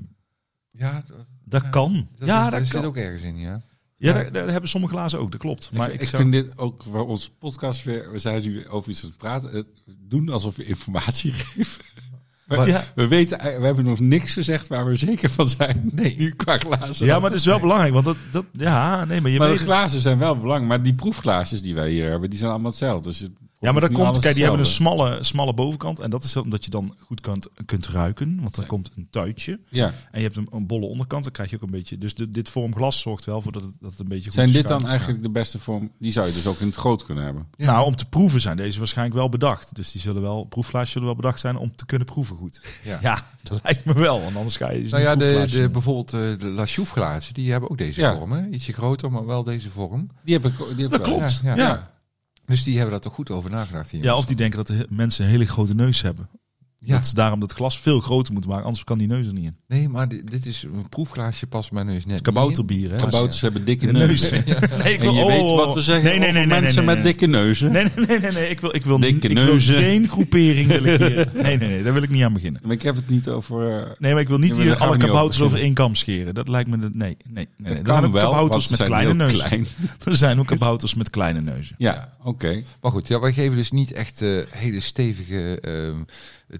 Speaker 2: Ja, dat,
Speaker 1: Dat kan.
Speaker 2: dat,
Speaker 1: ja,
Speaker 2: is-
Speaker 1: dat
Speaker 2: daar zit
Speaker 1: kan.
Speaker 2: ook ergens in, ja.
Speaker 1: Ja, daar, daar hebben sommige glazen ook. Dat klopt. Maar
Speaker 3: ik,
Speaker 1: ik,
Speaker 3: ik
Speaker 1: zou-
Speaker 3: vind dit ook waar onze podcast weer. We zijn nu over iets aan het praten. Het doen alsof we informatie geven.
Speaker 2: Maar-
Speaker 1: ja.
Speaker 3: We weten, ei- we hebben nog niks gezegd waar we zeker van zijn. Nee, nu qua glazen.
Speaker 1: Ja, maar het is wel belangrijk, want dat, dat ja, nee, maar je
Speaker 3: Maar de
Speaker 1: weet het.
Speaker 3: glazen zijn wel belangrijk. Maar die proefglazen die wij hier hebben, die zijn allemaal hetzelfde. Dus het
Speaker 1: Ja, maar
Speaker 3: nu
Speaker 1: dat komt,
Speaker 3: alles
Speaker 1: kijk, die hebben een
Speaker 3: hetzelfde.
Speaker 1: smalle, smalle bovenkant. En dat is omdat je dan goed kunt, kunt ruiken. Want dan komt een tuitje.
Speaker 3: Ja.
Speaker 1: En je hebt een, een bolle onderkant. Dan krijg je ook een beetje. Dus dit- dit vorm glas zorgt wel voor dat het, dat het een beetje goed
Speaker 3: Zijn dit
Speaker 1: schuin
Speaker 3: dan
Speaker 1: gaat.
Speaker 3: eigenlijk de beste vorm? Die zou je dus ook in het groot kunnen hebben.
Speaker 1: Nou, om te proeven zijn deze waarschijnlijk wel bedacht. Dus die zullen wel, proefflaasjes zullen wel bedacht zijn om te kunnen proeven goed.
Speaker 2: Ja.
Speaker 1: Ja, dat lijkt me wel. Want anders ga je dus
Speaker 2: Nou
Speaker 1: niet
Speaker 2: ja, de,
Speaker 1: proefflaasje
Speaker 2: de,
Speaker 1: doen.
Speaker 2: bijvoorbeeld eh, de La Chouffe glazen, die hebben ook deze
Speaker 3: Ja.
Speaker 2: vorm. Hè? Ietsje groter, maar wel deze vorm.
Speaker 3: Die heb ik, die heb ik
Speaker 1: Dat
Speaker 3: wel.
Speaker 1: klopt.
Speaker 2: Ja,
Speaker 1: Ja,
Speaker 2: ja. Dus die hebben daar toch goed over nagedacht hier.
Speaker 1: Ja, of die denken dat de he- mensen een hele grote neus hebben.
Speaker 2: Ja.
Speaker 1: Dat ze daarom dat glas veel groter moeten maken. Anders kan die neus er niet in.
Speaker 2: Nee, maar di- dit is een proefglaasje, past mijn neus net niet
Speaker 1: Kabouterbier, hè?
Speaker 3: Kabouters hebben dikke
Speaker 1: De neus.
Speaker 3: neus. En
Speaker 1: Nee, ik
Speaker 3: je
Speaker 1: wil-
Speaker 3: weet
Speaker 1: oh,
Speaker 3: wat we zeggen
Speaker 1: nee, nee,
Speaker 3: over
Speaker 1: nee, nee,
Speaker 3: mensen
Speaker 1: nee,
Speaker 3: met
Speaker 1: nee.
Speaker 3: dikke neuzen.
Speaker 1: Nee, nee, nee, nee, nee. Ik wil, ik wil,
Speaker 3: Dikke
Speaker 1: ik wil
Speaker 3: neuzen.
Speaker 1: geen groepering. Wil ik hier. Nee, nee, nee. Daar wil ik niet aan beginnen.
Speaker 3: Maar ik heb het niet over... eh,
Speaker 1: Nee, maar ik wil niet
Speaker 3: Ja, maar
Speaker 1: hier
Speaker 3: daar gaan
Speaker 1: alle
Speaker 3: we niet
Speaker 1: kabouters
Speaker 3: over
Speaker 1: over één kam scheren. Dat lijkt me... De, nee, nee, nee. nee. Er
Speaker 3: kan
Speaker 1: zijn ook
Speaker 3: wel,
Speaker 1: kabouters
Speaker 3: want ze
Speaker 1: met
Speaker 3: zijn
Speaker 1: kleine
Speaker 3: heel
Speaker 1: neuzen.
Speaker 3: klein.
Speaker 1: Er zijn ook kabouters met kleine neuzen.
Speaker 3: Ja, oké.
Speaker 2: Maar goed, ja, wij geven dus niet echt eh, hele stevige ehm,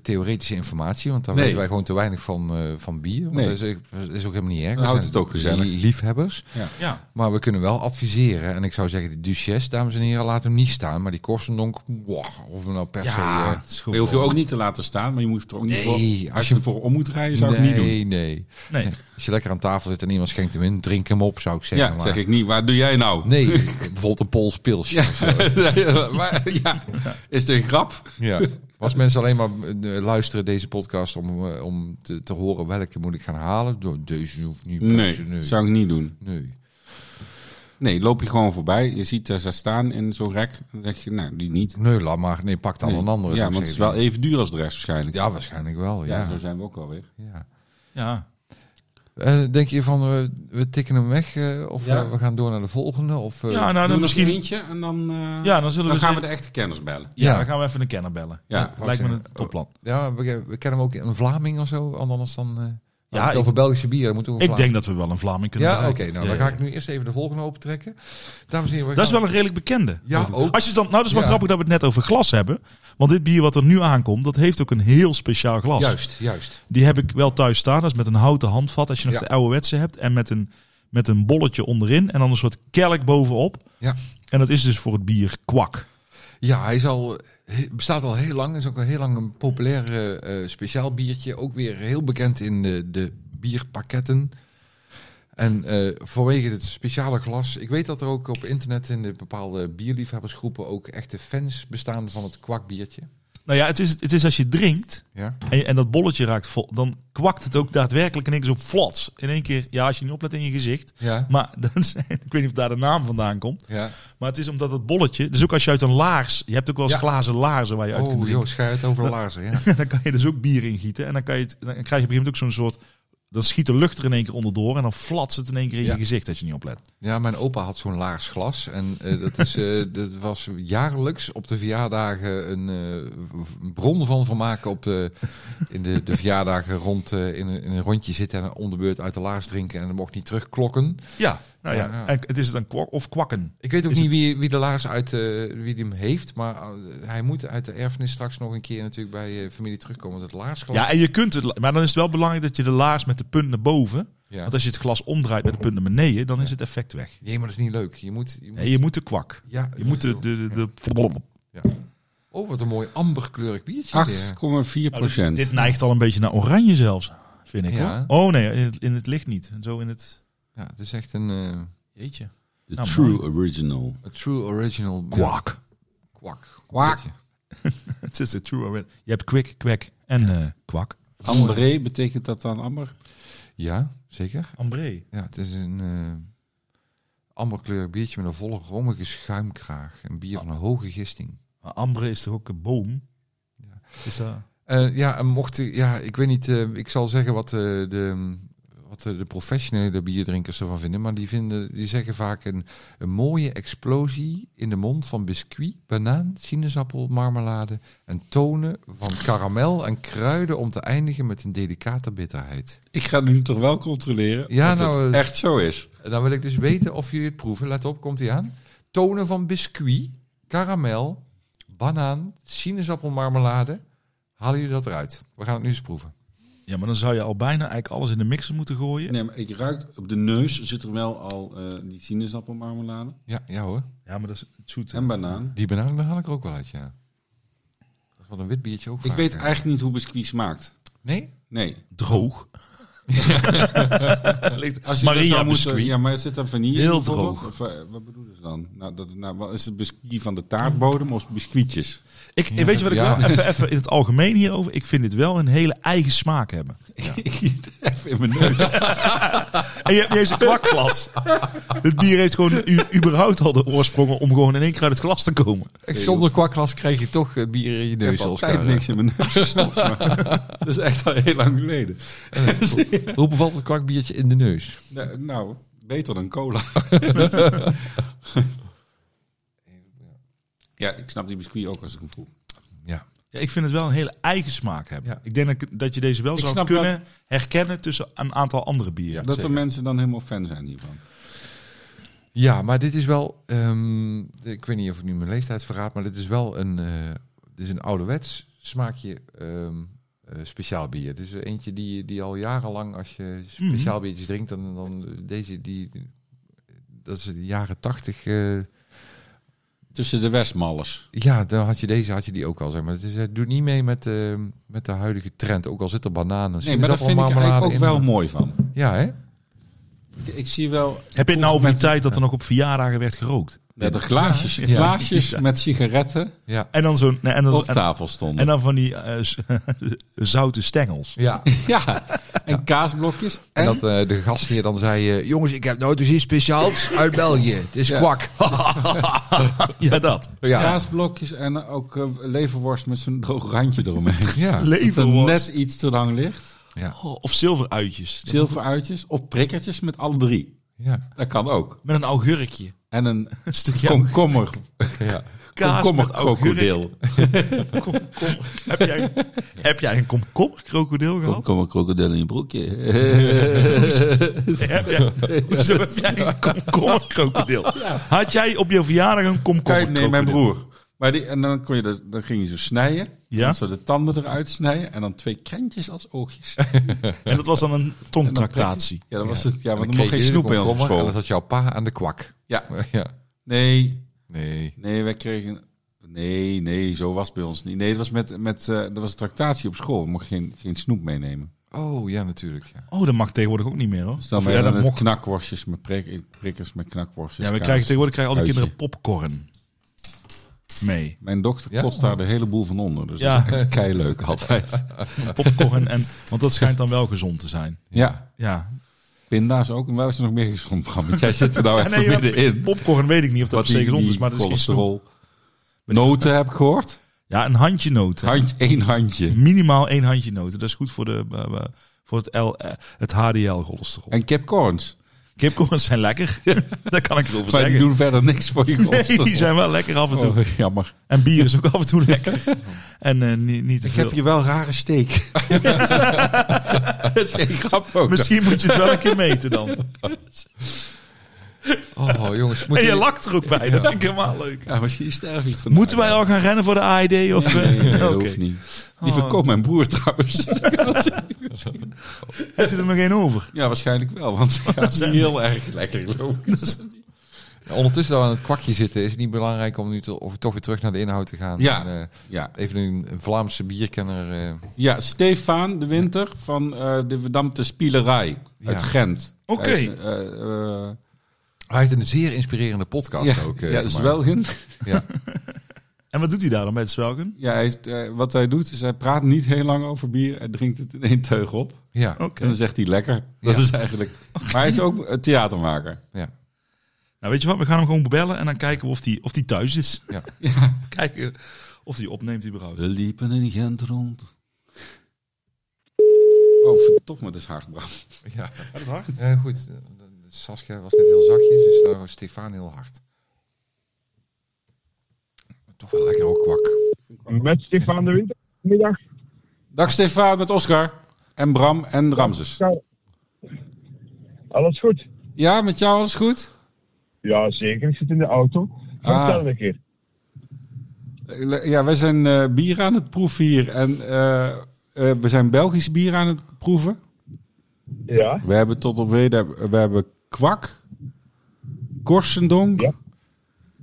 Speaker 2: theoretische informatie. Want daar
Speaker 3: Nee.
Speaker 2: weten wij gewoon te weinig van, eh, van bier. Want
Speaker 3: Nee.
Speaker 2: Dat, is, dat is ook helemaal niet erg.
Speaker 3: Dan
Speaker 2: We
Speaker 3: houdt
Speaker 2: zijn
Speaker 3: het ook gezellig.
Speaker 2: Liefhebbers.
Speaker 1: Ja.
Speaker 2: Maar we kunnen wel adviseren. En ik zou zeggen, de Duchesse, dames en heren, laat hem niet staan. Maar die Korstendonk, wow, of we nou per se... eh,
Speaker 1: dat is goed.
Speaker 3: Maar je hoeft je ook niet te laten staan, maar je moet er ook niet
Speaker 2: Nee,
Speaker 3: voor...
Speaker 2: als
Speaker 3: Als
Speaker 2: je-
Speaker 3: je ervoor om moet rijden, zou ik
Speaker 2: nee,
Speaker 3: niet doen.
Speaker 2: nee.
Speaker 1: Nee.
Speaker 2: Als je lekker aan tafel zit en iemand schenkt hem in, drink hem op, zou ik zeggen.
Speaker 3: Ja,
Speaker 2: maar-
Speaker 3: zeg ik niet. Waar doe jij nou?
Speaker 2: Nee, bijvoorbeeld een Pools pilsje. of zo.
Speaker 3: maar, ja, is de grap.
Speaker 2: Ja. Als mensen alleen maar eh, luisteren deze podcast om, eh, om te, te horen welke moet ik gaan halen, door deze hoeft niet. per se,
Speaker 3: Nee,
Speaker 2: nee.
Speaker 3: zou ik niet doen.
Speaker 2: nee.
Speaker 3: Nee, loop je gewoon voorbij. Je ziet eh, ze staan in zo'n rek. Dan zeg je, nou, die niet.
Speaker 2: Nee, laat maar. Nee, pak dan
Speaker 3: Nee.
Speaker 2: een andere.
Speaker 3: Ja,
Speaker 2: zou ik
Speaker 3: want het is wel
Speaker 2: zeggen.
Speaker 3: even duur als de rest waarschijnlijk.
Speaker 2: Ja, waarschijnlijk wel. Ja.
Speaker 3: zo zijn we ook alweer.
Speaker 2: Ja.
Speaker 1: Ja.
Speaker 2: Eh, denk je van, we, we tikken hem weg eh, of
Speaker 3: Ja.
Speaker 2: eh, we gaan door naar de volgende? Of, eh,
Speaker 1: Ja, nou, dan
Speaker 3: misschien
Speaker 1: misschien...
Speaker 3: eentje en dan, eh,
Speaker 1: Ja, dan zullen
Speaker 3: dan
Speaker 1: we...
Speaker 3: gaan
Speaker 1: ze-
Speaker 3: we de echte kenners bellen.
Speaker 1: Ja,
Speaker 2: Ja.
Speaker 1: dan gaan we even een kenner bellen.
Speaker 3: Ja,
Speaker 1: Ja, lijkt me
Speaker 2: wou ik
Speaker 1: een topplan.
Speaker 2: ja, we, we kennen hem ook een Vlaming of zo, anders dan... eh,
Speaker 1: Ja,
Speaker 2: ja, het
Speaker 1: ik-
Speaker 2: over Belgische bieren moeten we een
Speaker 1: Ik denk dat we wel een Vlaming kunnen
Speaker 2: Ja, oké.
Speaker 1: bereiken.
Speaker 2: nou,
Speaker 1: Ja,
Speaker 2: dan
Speaker 1: ja.
Speaker 2: ga ik nu eerst even de volgende opentrekken. Dames en heren, we
Speaker 1: Dat is
Speaker 2: gaan-
Speaker 1: wel een redelijk bekende.
Speaker 2: Ja,
Speaker 1: Over-
Speaker 2: ook.
Speaker 1: Als je het dan, nou, dat is wel
Speaker 2: Ja.
Speaker 1: grappig dat we het net over glas hebben. Want dit bier wat er nu aankomt, dat heeft ook een heel speciaal glas.
Speaker 2: Juist, juist.
Speaker 1: Die heb ik wel thuis staan. Dat is met een houten handvat. Als je nog
Speaker 2: Ja.
Speaker 1: de ouderwetse hebt. En met een, met een bolletje onderin. En dan een soort kelk bovenop.
Speaker 2: Ja.
Speaker 1: En dat is dus voor het bier kwak.
Speaker 2: Ja, hij is al, he- bestaat al heel lang. Is ook al heel lang een populair eh, eh, speciaal biertje. Ook weer heel bekend in de, de bierpakketten. En eh, vanwege het speciale glas. Ik weet dat er ook op internet in de bepaalde bierliefhebbersgroepen ook echte fans bestaan van het kwakbiertje.
Speaker 1: Nou ja, het is, het is als je drinkt.
Speaker 2: Ja.
Speaker 1: En, je- en dat bolletje raakt vol. Dan kwakt het ook daadwerkelijk in één keer zo flots. In één keer, ja, als je niet oplet in je gezicht.
Speaker 2: Ja.
Speaker 1: Maar dat is- ik weet niet of daar de naam vandaan komt.
Speaker 2: Ja.
Speaker 1: Maar het is omdat het bolletje. Dus ook als je uit een laars. Je hebt ook wel eens
Speaker 2: Ja.
Speaker 1: glazen laarzen waar je uit kunt
Speaker 2: Oh, joh,
Speaker 1: drinken.
Speaker 2: schuit over de laarzen. Ja.
Speaker 1: En dan kan je dus ook bier in gieten. En dan, kan je het, dan krijg je op een gegeven moment ook zo'n soort... Dan schiet de lucht er in één keer onderdoor. En dan flatst het in één keer in
Speaker 2: Ja.
Speaker 1: je gezicht als je niet oplet.
Speaker 2: Ja, mijn opa had zo'n laarsglas. En eh, dat, is, eh, dat was jaarlijks op de verjaardagen een eh, v- bron van vermaak. Op de, in de, de verjaardagen rond, eh, in, een- in een rondje zitten en om de beurt uit de laars drinken. En dan mocht niet terugklokken.
Speaker 1: Ja, nou ja.
Speaker 2: Ja, ja.
Speaker 1: En het is het dan kwak of kwakken.
Speaker 2: Ik weet ook
Speaker 1: Is
Speaker 2: niet wie, wie de laars uit eh, wie die hem heeft. Maar eh, hij moet uit de erfenis straks nog een keer natuurlijk bij eh, familie terugkomen. Want het laarsglas.
Speaker 1: Ja, en je kunt het... la- Maar dan is het wel belangrijk dat je de laars met de punt naar boven...
Speaker 2: Ja.
Speaker 1: Want als je het glas omdraait met de punt naar beneden... dan is het effect weg.
Speaker 2: Nee, maar dat is niet leuk. Je moet. Je moet,
Speaker 1: Nee, je moet de kwak.
Speaker 2: ja,
Speaker 1: Je moet de... de, de, de-
Speaker 2: ja. Oh, wat een mooi amberkleurig biertje. weer.
Speaker 3: 8,4 procent.
Speaker 1: Dit neigt al een beetje naar oranje zelfs, vind ik.
Speaker 2: Ja.
Speaker 1: Hoor. Oh nee, in het, in het licht niet. En zo in het...
Speaker 2: Ja, het is echt een eh,
Speaker 1: Jeetje.
Speaker 3: De
Speaker 1: Nou,
Speaker 3: true original.
Speaker 2: een true original. ja,
Speaker 1: Kwak.
Speaker 2: Kwak.
Speaker 3: Kwak.
Speaker 1: Het is de true oranje. Je hebt kwik, kwek en eh, kwak.
Speaker 3: Amberé, betekent dat dan amber?
Speaker 2: Ja, zeker.
Speaker 1: Ambré.
Speaker 2: Ja, het is een eh amberkleurig biertje met een volle rommige schuimkraag. Een bier van een hoge gisting.
Speaker 1: Maar ambre is toch ook een boom? Is dat...
Speaker 2: Eh, ja, en mocht u, ja, ik weet niet, eh, ik zal zeggen wat, eh, de, wat de, de professionele bierdrinkers ervan vinden. Maar die, vinden, die zeggen vaak een, een mooie explosie in de mond van biscuit, banaan, sinaasappel, marmelade. En tonen van karamel en kruiden om te eindigen met een delicate bitterheid.
Speaker 3: Ik ga nu toch wel controleren
Speaker 2: Ja,
Speaker 3: of
Speaker 2: nou,
Speaker 3: het
Speaker 2: eh,
Speaker 3: echt zo is.
Speaker 2: En Dan wil ik dus weten of jullie het proeven. Let op, komt ie aan. Tonen van biscuit, karamel, banaan, sinaasappelmarmelade. Halen jullie dat eruit? We gaan het nu eens proeven.
Speaker 1: Ja, maar dan zou je al bijna eigenlijk alles in de mixer moeten gooien.
Speaker 3: Nee, maar je ruikt op de neus zit er wel al eh, die sinaasappelmarmelade
Speaker 2: Ja, ja hoor.
Speaker 1: Ja, maar dat is het zoete.
Speaker 3: en banaan.
Speaker 2: Die banaan daar haal ik er ook wel uit, ja. Dat is wel een wit biertje ook
Speaker 3: Ik
Speaker 2: vaak,
Speaker 3: weet
Speaker 2: ja.
Speaker 3: eigenlijk niet hoe biscuit smaakt.
Speaker 2: Nee?
Speaker 3: Nee.
Speaker 1: Droog.
Speaker 3: Als je dat
Speaker 1: Maria
Speaker 3: zou moeten-
Speaker 1: biscuit.
Speaker 3: Ja, maar zit er vanille in
Speaker 1: Heel
Speaker 3: bijvoorbeeld?
Speaker 1: droog.
Speaker 3: Of, eh, wat bedoelen ze dan? Nou, dat, nou, wat is het biscuit van de taartbodem of biscuitjes?
Speaker 1: Ik, weet je wat ik
Speaker 2: Ja.
Speaker 1: wil? Even, even in het algemeen hierover. Ik vind dit wel een hele eigen smaak hebben.
Speaker 3: Even in mijn neus.
Speaker 1: En Ah, je hebt niet eens een kwakglas. Het bier heeft gewoon u, überhaupt al de oorsprongen om gewoon in één keer uit het glas te komen.
Speaker 2: Echt, Zonder kwakglas krijg je toch eh, bier in je
Speaker 3: Ik
Speaker 2: neus.
Speaker 3: heb
Speaker 2: als
Speaker 3: altijd
Speaker 2: elkaar, eh.
Speaker 3: niks in mijn neus gestopt. maar dat is echt al heel lang geleden.
Speaker 2: Eh, Hoe bevalt het kwakbiertje in de neus?
Speaker 3: Nou, Nou, beter dan cola. ja, ik snap die biscuit ook als ik hem voel.
Speaker 2: Ja.
Speaker 1: Ja, ik vind het wel een hele eigen smaak hebben.
Speaker 2: Ja.
Speaker 1: Ik denk dat, ik- dat je deze wel
Speaker 3: Ik
Speaker 1: zou
Speaker 3: snap
Speaker 1: kunnen herkennen tussen een aantal andere bieren.
Speaker 3: dat er mensen dan helemaal fan zijn hiervan.
Speaker 2: Ja, maar dit is wel. ehm, ik weet niet of ik nu mijn leeftijd verraad, maar dit is wel een. eh dit is een ouderwets smaakje ehm, eh, speciaal bier. Dus eentje die, die al jarenlang, als je speciaal
Speaker 3: Mhm.
Speaker 2: biertjes drinkt, dan, dan deze die. Dat is de jaren tachtig. eh,
Speaker 3: Tussen de Westmallers.
Speaker 2: ja, dan had je deze, had je die ook al, zeg maar. Dus het doet niet mee met, eh, met de huidige trend. Ook al zit er bananen.
Speaker 3: Nee, maar daar vind ik er eigenlijk ook wel mooi van.
Speaker 2: eh, Ja, hè?
Speaker 3: Ik, ik zie wel
Speaker 1: Heb je het nou over die tijd dat er nog op verjaardagen werd gerookt?
Speaker 3: dat er glaasjes,
Speaker 2: Ja.
Speaker 3: glaasjes met sigaretten
Speaker 2: Ja.
Speaker 1: En dan zo'n... nee, en dan,
Speaker 3: op
Speaker 1: en,
Speaker 3: tafel stonden.
Speaker 1: en dan van die eh, z- zoute stengels.
Speaker 2: Ja,
Speaker 3: ja, en kaasblokjes.
Speaker 2: En
Speaker 3: En,
Speaker 2: dat eh, de gastheer dan zei: eh, Jongens, ik heb nooit iets speciaals uit België. Het is kwak.
Speaker 1: Ja, dat.
Speaker 2: ja.
Speaker 3: kaasblokjes en ook eh, leverworst met zo'n droog randje eromheen.
Speaker 2: Ja.
Speaker 3: Dat er
Speaker 1: Leverworst.
Speaker 3: net iets te lang ligt.
Speaker 2: Ja.
Speaker 1: Oh, Of zilveruitjes.
Speaker 3: Zilveruitjes of prikkertjes met alle drie.
Speaker 2: ja.
Speaker 3: Dat kan ook.
Speaker 1: Met een augurkje.
Speaker 3: En een
Speaker 1: Een stukje
Speaker 3: komkommer.
Speaker 2: ja.
Speaker 1: kaas
Speaker 3: komkommer
Speaker 1: met augurk.
Speaker 3: krokodil.
Speaker 1: Heb jij, heb jij een komkommerkrokodil gehad?
Speaker 3: Komkommer krokodil in je broekje.
Speaker 1: Heb jij, hoezo heb jij een komkommerkrokodil? Had jij op je verjaardag een
Speaker 3: Kijk,
Speaker 1: komkommerkrokodil?
Speaker 3: nee, mijn broer. Maar die, en dan, kon je dat, dan ging je zo snijden.
Speaker 1: Ja.
Speaker 3: Dan zo de tanden eruit snijden. En dan twee krentjes als oogjes.
Speaker 1: En dat was dan een
Speaker 3: En dan
Speaker 1: tongtractatie.
Speaker 3: Ja, dat was het. Ja,
Speaker 2: En
Speaker 3: want
Speaker 2: dan
Speaker 3: er
Speaker 2: kreeg
Speaker 3: mocht geen
Speaker 2: je de
Speaker 3: snoep in op
Speaker 2: komkommer En
Speaker 3: school.
Speaker 2: dat had jouw pa aan de kwak.
Speaker 3: Ja,
Speaker 2: ja.
Speaker 3: nee.
Speaker 2: Nee.
Speaker 3: Nee, wij kregen... Nee, nee, zo was het bij ons niet. Nee, het was met, met eh dat was een tractatie op school. We mochten geen, geen snoep meenemen.
Speaker 2: Oh ja, natuurlijk. Ja.
Speaker 1: Oh, dat mag tegenwoordig ook niet meer hoor.
Speaker 3: Dus dan
Speaker 1: Of
Speaker 3: wij
Speaker 1: ja, dat
Speaker 3: dan met
Speaker 1: mocht.
Speaker 3: knakworstjes, met prik, prikkers, met knakworstjes.
Speaker 1: Ja, we
Speaker 3: kaas.
Speaker 1: krijgen tegenwoordig krijgen al die
Speaker 3: Uitje.
Speaker 1: kinderen popcorn mee.
Speaker 3: Mijn dochter
Speaker 2: Ja?
Speaker 3: kost daar de hele boel van onder. Dus
Speaker 1: Ja.
Speaker 3: ja. dat is kei leuk altijd.
Speaker 1: Popcorn en want dat schijnt dan wel gezond te zijn.
Speaker 3: Ja,
Speaker 1: Ja.
Speaker 3: pinda's ook. En waar is er nog meer gezond van? Want jij zit er nou echt
Speaker 1: Ja, nee,
Speaker 3: middenin.
Speaker 1: Popcorn weet ik niet of dat per se gezond is, maar dat is geen snoep.
Speaker 3: cholesterol. Noten heb ik gehoord.
Speaker 1: Ja, een handje noten.
Speaker 3: Handje, één handje.
Speaker 1: Minimaal één handje noten. Dat is goed voor de eh, eh, voor het L, eh, het HDL cholesterol.
Speaker 3: En kipcorns.
Speaker 1: Kipcorns zijn lekker. Daar kan ik het over
Speaker 3: Maar die
Speaker 1: zeggen.
Speaker 3: doen verder niks voor je
Speaker 1: Nee,
Speaker 3: cholesterol.
Speaker 1: die zijn wel lekker af en toe.
Speaker 3: Oh, jammer.
Speaker 1: En bier is ook af en toe lekker. En eh, niet, niet te veel.
Speaker 3: wel rare steek. dat is geen grap ook.
Speaker 1: Misschien moet je het wel een keer meten dan.
Speaker 2: Oh jongens, moet
Speaker 1: En je
Speaker 2: je...
Speaker 1: lakt er ook bij. Dat vind ik helemaal leuk.
Speaker 3: Ja, misschien sterf ik van.
Speaker 1: Moeten wij al gaan rennen voor de AED? Of, eh,
Speaker 3: Nee, nee, dat
Speaker 1: oké.
Speaker 3: hoeft niet. Die
Speaker 1: Oh.
Speaker 3: verkoopt mijn broer trouwens.
Speaker 1: Heeft u er nog één over?
Speaker 3: ja, waarschijnlijk wel, want dat is niet heel erg lekker. geloof ik.
Speaker 2: Ondertussen dat we aan het kwakje zitten, is het niet belangrijk om nu te, of toch weer terug naar de inhoud te gaan.
Speaker 3: Ja.
Speaker 2: En, eh,
Speaker 3: Ja,
Speaker 2: even een, een Vlaamse bierkenner. eh,
Speaker 3: ja Stefan de Winter van eh, de Verdamte Spielerij uit
Speaker 2: Ja.
Speaker 3: Gent.
Speaker 1: Oké.
Speaker 3: Hij is, eh, eh,
Speaker 2: hij heeft een zeer inspirerende podcast
Speaker 3: ja,
Speaker 2: ook.
Speaker 3: ja,
Speaker 2: eh,
Speaker 3: dat is
Speaker 2: maar-
Speaker 3: wel in.
Speaker 2: Ja.
Speaker 1: En wat doet hij daar dan bij het zwelgen?
Speaker 3: Ja, hij is, eh, wat hij doet is hij praat niet heel lang over bier. Hij drinkt het in één teug op.
Speaker 2: ja.
Speaker 1: Oké.
Speaker 3: En dan zegt hij lekker. Dat
Speaker 2: Ja.
Speaker 3: is eigenlijk. Maar hij is ook een theatermaker.
Speaker 2: ja.
Speaker 1: Nou, weet je wat? We gaan hem gewoon bellen en dan kijken we of hij of die thuis is.
Speaker 2: Ja.
Speaker 1: Kijken of hij opneemt überhaupt.
Speaker 3: liepen in Gent rond. Oh, verdomme, het is hard, Bram.
Speaker 2: Ja. Eh, goed, Saskia was net heel zachtjes, dus nou was Stefan heel hard. Toch wel lekker ook kwak.
Speaker 6: Met Stefan de Winter. Middag.
Speaker 3: Dag Stefan met Oscar. En Bram en Ramses.
Speaker 6: Alles goed?
Speaker 3: Ja, met jou alles goed?
Speaker 6: Ja, zeker. Ik zit in de auto.
Speaker 3: Ah.
Speaker 6: Vertel een keer.
Speaker 3: Ja, wij zijn eh, bier aan het proeven hier. En eh, eh, we zijn Belgisch bier aan het proeven.
Speaker 6: Ja.
Speaker 3: We hebben tot op heden, we hebben kwak, korsendonk
Speaker 6: Ja.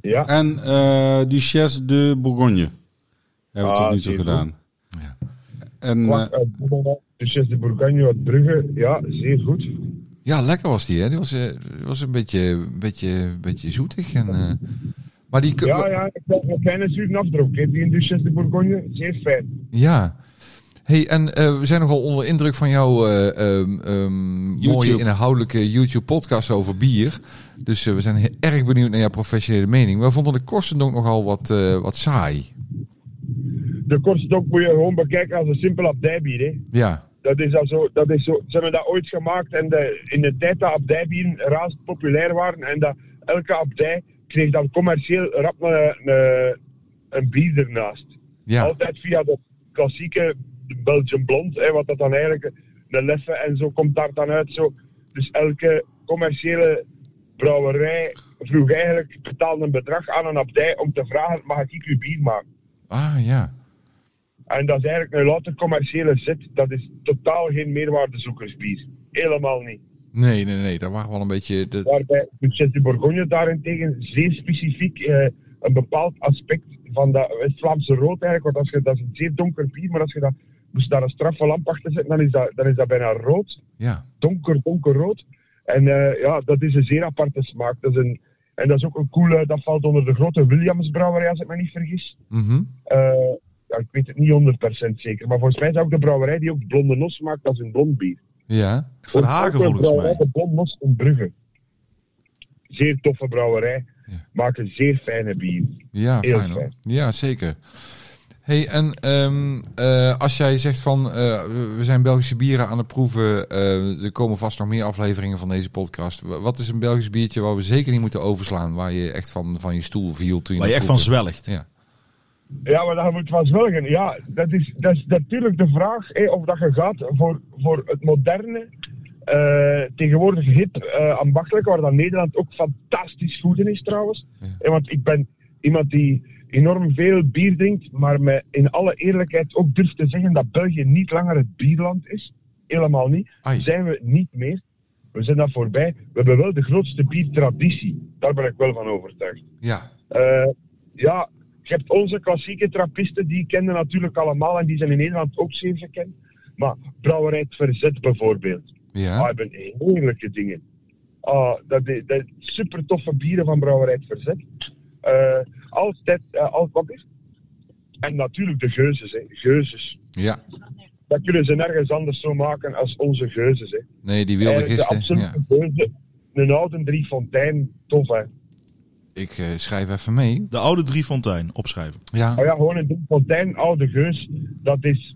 Speaker 6: Ja.
Speaker 3: en eh Duchesse de Bourgogne. Hebben we
Speaker 6: Ah,
Speaker 3: tot nu toe
Speaker 6: zeer goed.
Speaker 3: gedaan.
Speaker 1: Ja.
Speaker 3: En, eh,
Speaker 6: Wacht, eh, Bourgogne, Dus is de Bourgogne uit Brugge. Ja, zeer goed.
Speaker 2: Ja, lekker was die, hè? Die was, eh, die was een beetje, beetje, beetje zoetig. En, eh, maar die... kun-
Speaker 6: Ja, ja, ik heb een kleine zuur afdruk. hè. Die in Duchesse de Bourgogne, zeer fijn.
Speaker 2: Ja. Hey, en eh, we zijn nogal onder indruk van jouw eh, ehm, ehm, mooie
Speaker 3: YouTube.
Speaker 2: inhoudelijke YouTube-podcast over bier. Dus eh, we zijn he- erg benieuwd naar jouw professionele mening. We vonden de Korsendonk nogal wat, eh, wat saai.
Speaker 6: De kortstok moet je gewoon bekijken als een simpel abdijbier. Hè.
Speaker 2: Ja,
Speaker 6: Dat is al zo, dat is zo. Ze hebben dat ooit gemaakt en de, in de tijd dat abdijbieren razend populair waren en dat elke abdij kreeg dan commercieel rap eh, een, een, een bier ernaast.
Speaker 2: ja,
Speaker 6: Altijd via dat klassieke Belgian Blond, hè, wat dat dan eigenlijk, de Leffe en zo komt daar dan uit. Zo. Dus elke commerciële brouwerij vroeg eigenlijk, betaalde een bedrag aan een abdij om te vragen, mag ik uw bier maken?
Speaker 2: ah ja.
Speaker 6: En dat is eigenlijk een louter commerciële zit. Dat is totaal geen meerwaardezoekersbier. Helemaal niet.
Speaker 2: Nee, nee, nee, daar waren we wel een beetje... De...
Speaker 6: Waarbij Duchesse de Bourgogne daarentegen zeer specifiek eh, een bepaald aspect van dat West-Vlaamse rood eigenlijk. Want als je, dat is een zeer donker bier, maar als je dat, moest daar een straffe lamp achter zetten, dan is dat, dan is dat bijna rood.
Speaker 2: Ja,
Speaker 6: Donker, donkerrood. En eh, ja, dat is een zeer aparte smaak. Dat is een, en dat is ook een coole, dat valt onder de grote Williams-brouwerij, als ik me niet vergis.
Speaker 2: mhm.
Speaker 6: Eh, ja, ik weet het niet 100% zeker, maar volgens mij is dat ook de brouwerij die ook blonde nos maakt als een blond bier.
Speaker 2: ja.
Speaker 1: Verhagen
Speaker 6: Ook een
Speaker 1: volgens
Speaker 6: brouwerij,
Speaker 1: mij.
Speaker 6: De blond nos in Brugge. Zeer toffe brouwerij.
Speaker 2: Ja.
Speaker 6: Maken zeer fijne bier.
Speaker 2: Ja,
Speaker 6: Heel
Speaker 2: fijn hoor.
Speaker 6: fijn.
Speaker 2: Ja, zeker. Hey, en ehm, eh, als jij zegt van eh, we zijn Belgische bieren aan het proeven, eh, er komen vast nog meer afleveringen van deze podcast. Wa- Wat is een Belgisch biertje waar we zeker niet moeten overslaan, waar je echt van, van je stoel viel toen je
Speaker 1: Waar je
Speaker 2: dat
Speaker 1: echt van
Speaker 2: proefde?
Speaker 1: zwelgt.
Speaker 2: Ja,
Speaker 6: Ja, maar dat moet wel zwelgen. Ja, dat is, dat is natuurlijk de vraag hè, of dat je gaat voor, voor het moderne, eh, tegenwoordig hip, eh, ambachtelijke, waar dan Nederland ook fantastisch goed in is trouwens. Hè, want ik ben iemand die enorm veel bier drinkt, maar me in alle eerlijkheid ook durft te zeggen dat België niet langer het bierland is. Helemaal niet.
Speaker 2: Ai.
Speaker 6: Zijn we niet meer. We zijn dat voorbij. We hebben wel de grootste biertraditie. Daar ben ik wel van overtuigd.
Speaker 2: ja,
Speaker 6: Eh, ja, je hebt onze klassieke trappisten, die kennen natuurlijk allemaal en die zijn in Nederland ook zeer gekend. Maar Brouwerij het Verzet bijvoorbeeld. Ah,
Speaker 2: ja.
Speaker 6: hebben heerlijke dingen. Ah, dat, is- dat super toffe bieren van Brouwerij het Verzet. Eh altijd, eh, al, wat is En natuurlijk de geuzes, hè. Geuzes.
Speaker 2: ja.
Speaker 6: Dat kunnen ze nergens anders zo maken als onze geuzes, hè.
Speaker 2: Nee, die wilde
Speaker 6: Eigenlijk Eh, de
Speaker 2: gisteren. Ja.
Speaker 6: absolute geuze. Een oude Driefontein, tof, hè.
Speaker 2: Ik eh, schrijf even mee.
Speaker 1: De oude Driefontein, opschrijven.
Speaker 2: Ja,
Speaker 6: Oh ja, gewoon een fontein, oude geus. Dat is.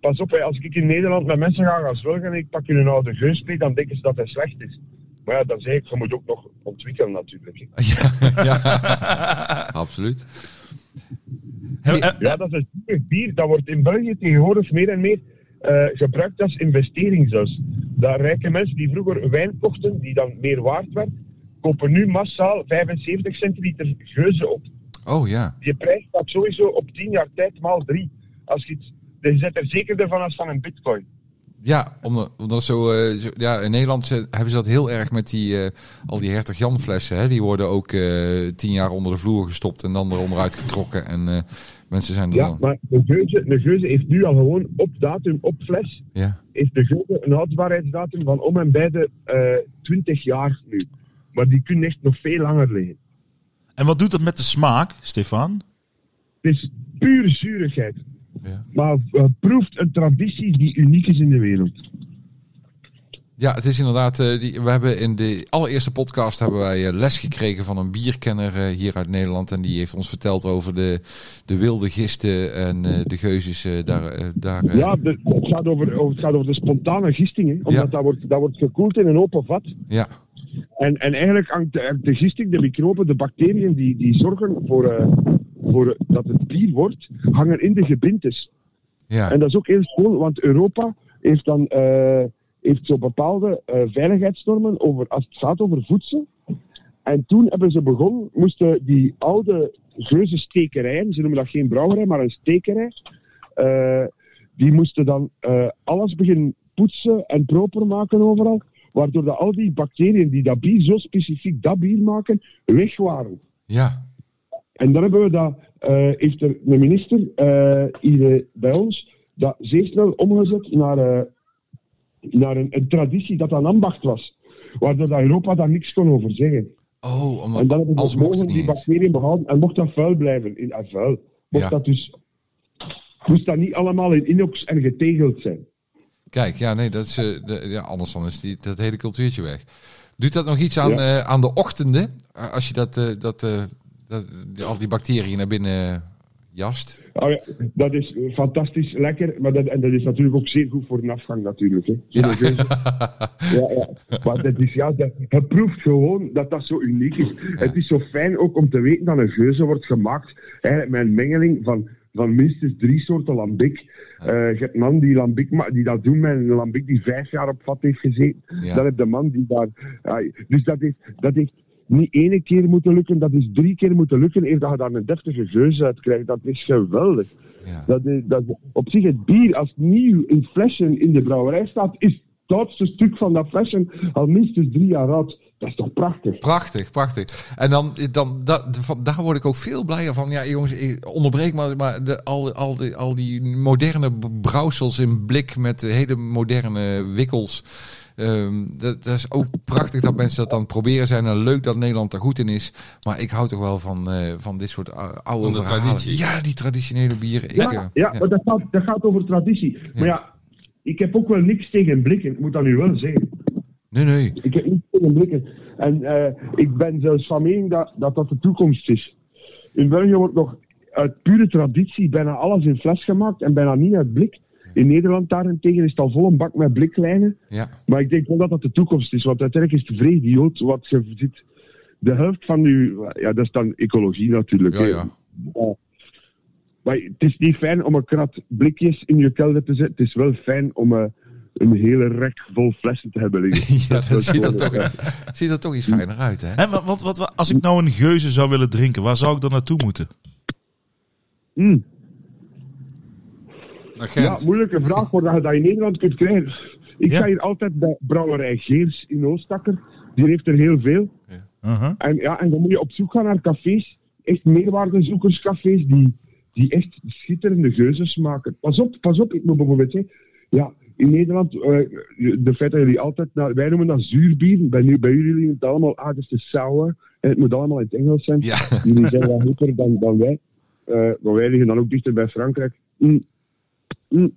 Speaker 6: Pas op, hè, als ik in Nederland met mensen ga gaan zwelgen en ik pak je een oude geus mee, dan denken ze dat hij slecht is. Maar ja, dan zeg ik, je moet ook nog ontwikkelen natuurlijk. hè.
Speaker 2: ja, ja. absoluut.
Speaker 1: He- eh,
Speaker 6: Ja, dat is een super bier. Dat wordt in België tegenwoordig meer en meer eh, gebruikt als investering zelfs. Dat rijke mensen die vroeger wijn kochten, die dan meer waard werd, kopen nu massaal 75 centiliter geuzen op.
Speaker 2: Oh ja,
Speaker 6: je prijs gaat sowieso op 10 jaar tijd maal 3. Als je iets, dus je zit er zekerder van als van een bitcoin.
Speaker 2: ja omdat, omdat zo, eh, zo- ja, in Nederland ze- hebben ze dat heel erg met die, eh, al die Hertog Jan flessen. Hè? Die worden ook eh, tien jaar onder de vloer gestopt en dan eronder uitgetrokken. En eh, mensen zijn er
Speaker 6: Ja,
Speaker 2: dan...
Speaker 6: maar de geuze, de geuze heeft nu al gewoon op datum, op fles,
Speaker 2: Ja,
Speaker 6: heeft de geuze een houdbaarheidsdatum van om en bij de eh 20 jaar nu. Maar die kunnen echt nog veel langer liggen.
Speaker 1: En wat doet dat met de smaak, Stefan?
Speaker 6: Het is puur zuurigheid.
Speaker 2: Ja.
Speaker 6: Maar eh, proeft een traditie die uniek is in de wereld.
Speaker 2: ja het is inderdaad... eh, die, we hebben in de allereerste podcast hebben wij eh, les gekregen van een bierkenner eh, hier uit Nederland. En die heeft ons verteld over de, de wilde gisten en eh, de geuzes eh, daar. eh, daar eh.
Speaker 6: Ja, de- het, gaat over, over- het gaat over de spontane gisting. hè. Omdat
Speaker 2: Ja.
Speaker 6: dat, wordt, dat wordt gekoeld in een open vat.
Speaker 2: ja,
Speaker 6: En, en eigenlijk hangt de, de gisting, de microben, de bacteriën die, die zorgen voor, eh, voor dat het bier wordt, hangen in de gebintes.
Speaker 2: ja.
Speaker 6: En dat is ook heel schoon, want Europa heeft dan eh, heeft zo bepaalde eh, veiligheidsnormen over, als het gaat over voedsel. En toen hebben ze begonnen, moesten die oude geuze stekerijen, ze noemen dat geen brouwerij, maar een stekerij, eh, die moesten dan eh, alles beginnen poetsen en proper maken overal. Waardoor dat al die bacteriën die dat bier, zo specifiek dat bier maken, weg waren.
Speaker 2: Ja.
Speaker 6: En dan hebben we dat, eh, heeft er een minister eh, hier eh, bij ons dat zeer snel omgezet naar, eh, naar een, een traditie dat aan ambacht was. Waardoor dat Europa daar niks kon over zeggen.
Speaker 2: Oh,
Speaker 6: en
Speaker 2: omdat,
Speaker 6: dan hebben
Speaker 2: als
Speaker 6: we
Speaker 2: mocht het
Speaker 6: mogen
Speaker 2: niet
Speaker 6: die
Speaker 2: eens.
Speaker 6: bacteriën behouden en mocht dat vuil blijven. In, ah, vuil. Mocht
Speaker 2: Ja.
Speaker 6: dat dus, moest dat niet allemaal in inox en getegeld zijn.
Speaker 2: Kijk, ja, nee, dat is, eh, de- ja, anders dan is die, dat hele cultuurtje weg. Doet dat nog iets aan, eh, aan de ochtenden? Eh, Als je dat, eh, dat, eh, dat, die- al die bacteriën naar binnen jast?
Speaker 6: Ah ja, dat is eh, fantastisch lekker, maar dat, en dat is natuurlijk ook zeer goed voor een afgang natuurlijk. Hè. Zo dat weet je. Ja, ja. Maar dat is, ja, dat, je proeft gewoon dat dat zo uniek is. Het is zo fijn ook om te weten dat een geuze wordt gemaakt eigenlijk met een mengeling van, van minstens drie soorten lambic. Eh, je hebt man die lambic ma- die dat doen met een lambic die vijf jaar op vat heeft gezeten.
Speaker 2: Ja.
Speaker 6: Dan heb je de man die daar... ah, dus dat heeft, dat heeft niet ene keer moeten lukken, dat is drie keer moeten lukken, eer dat je daar een deftige geuze uit krijgt. Dat is geweldig.
Speaker 2: Ja.
Speaker 6: Dat is, dat is- op zich, het bier als het nieuw in flesje in de brouwerij staat, is het oudste stuk van dat flesje al minstens drie jaar oud. Dat is toch prachtig?
Speaker 2: Prachtig, prachtig. En dan, dan dat, van, daar word ik ook veel blijer van. Ja, jongens, ik onderbreek maar, maar de, al, al, die, al die moderne b- brouwsels in blik met hele moderne wikkels. Ehm, dat, dat is ook prachtig dat mensen dat aan het proberen zijn. En leuk dat Nederland er goed in is. Maar ik hou toch wel van, eh, van dit soort ou- oude
Speaker 3: Van de
Speaker 2: verhalen.
Speaker 3: traditie.
Speaker 2: Ja, die traditionele bieren. Ik, eh,
Speaker 6: Ja, ja, maar dat gaat, dat gaat over traditie. Maar ja, ik heb ook wel niks tegen blikken, ik moet dat nu wel zeggen.
Speaker 2: Nee, nee.
Speaker 6: Ik heb niets tegen blikken. En eh, ik ben zelfs van mening dat, dat dat de toekomst is. In België wordt nog uit pure traditie bijna alles in fles gemaakt en bijna niet uit blik. In Nederland daarentegen is het al vol een bak met bliklijnen.
Speaker 2: Ja,
Speaker 6: Maar ik denk wel dat dat de toekomst is, want uiteindelijk is de vreedioot wat je ziet. De helft van uw. Ja, dat is dan ecologie natuurlijk.
Speaker 2: ja,
Speaker 6: hè.
Speaker 2: ja.
Speaker 6: Ja. Maar het is niet fijn om een krat blikjes in je kelder te zetten. Het is wel fijn om eh, een hele rek vol flessen te hebben liggen.
Speaker 2: ja dat ziet er
Speaker 6: wel-
Speaker 2: toch, ziet er toch iets fijner uit, hè?
Speaker 1: En wat, wat, wat, als ik nou een geuze zou willen drinken, waar zou ik dan naartoe moeten?
Speaker 6: Mm.
Speaker 3: Naar Gent.
Speaker 6: Ja, moeilijke vraag voordat je dat in Nederland kunt krijgen. Ik
Speaker 1: Ja.
Speaker 6: ga hier altijd bij Brouwerij Geers in Oostakker. Die heeft er heel veel.
Speaker 1: Uh-huh.
Speaker 6: En, ja, en dan moet je op zoek gaan naar cafés, echt meerwaardezoekerscafés, die, die echt schitterende geuzes maken. Pas op, pas op, ik moet bijvoorbeeld zeggen, ja, in Nederland, eh, de feit dat jullie altijd, naar, wij noemen dat zuurbier, bij, nu- bij jullie noemen het allemaal ah, aardigste sour, en het moet allemaal in het Engels zijn.
Speaker 2: Ja.
Speaker 6: Jullie zijn wat hipper dan, dan wij, Eh, maar wij liggen dan ook dichter bij Frankrijk. Mm. Mm.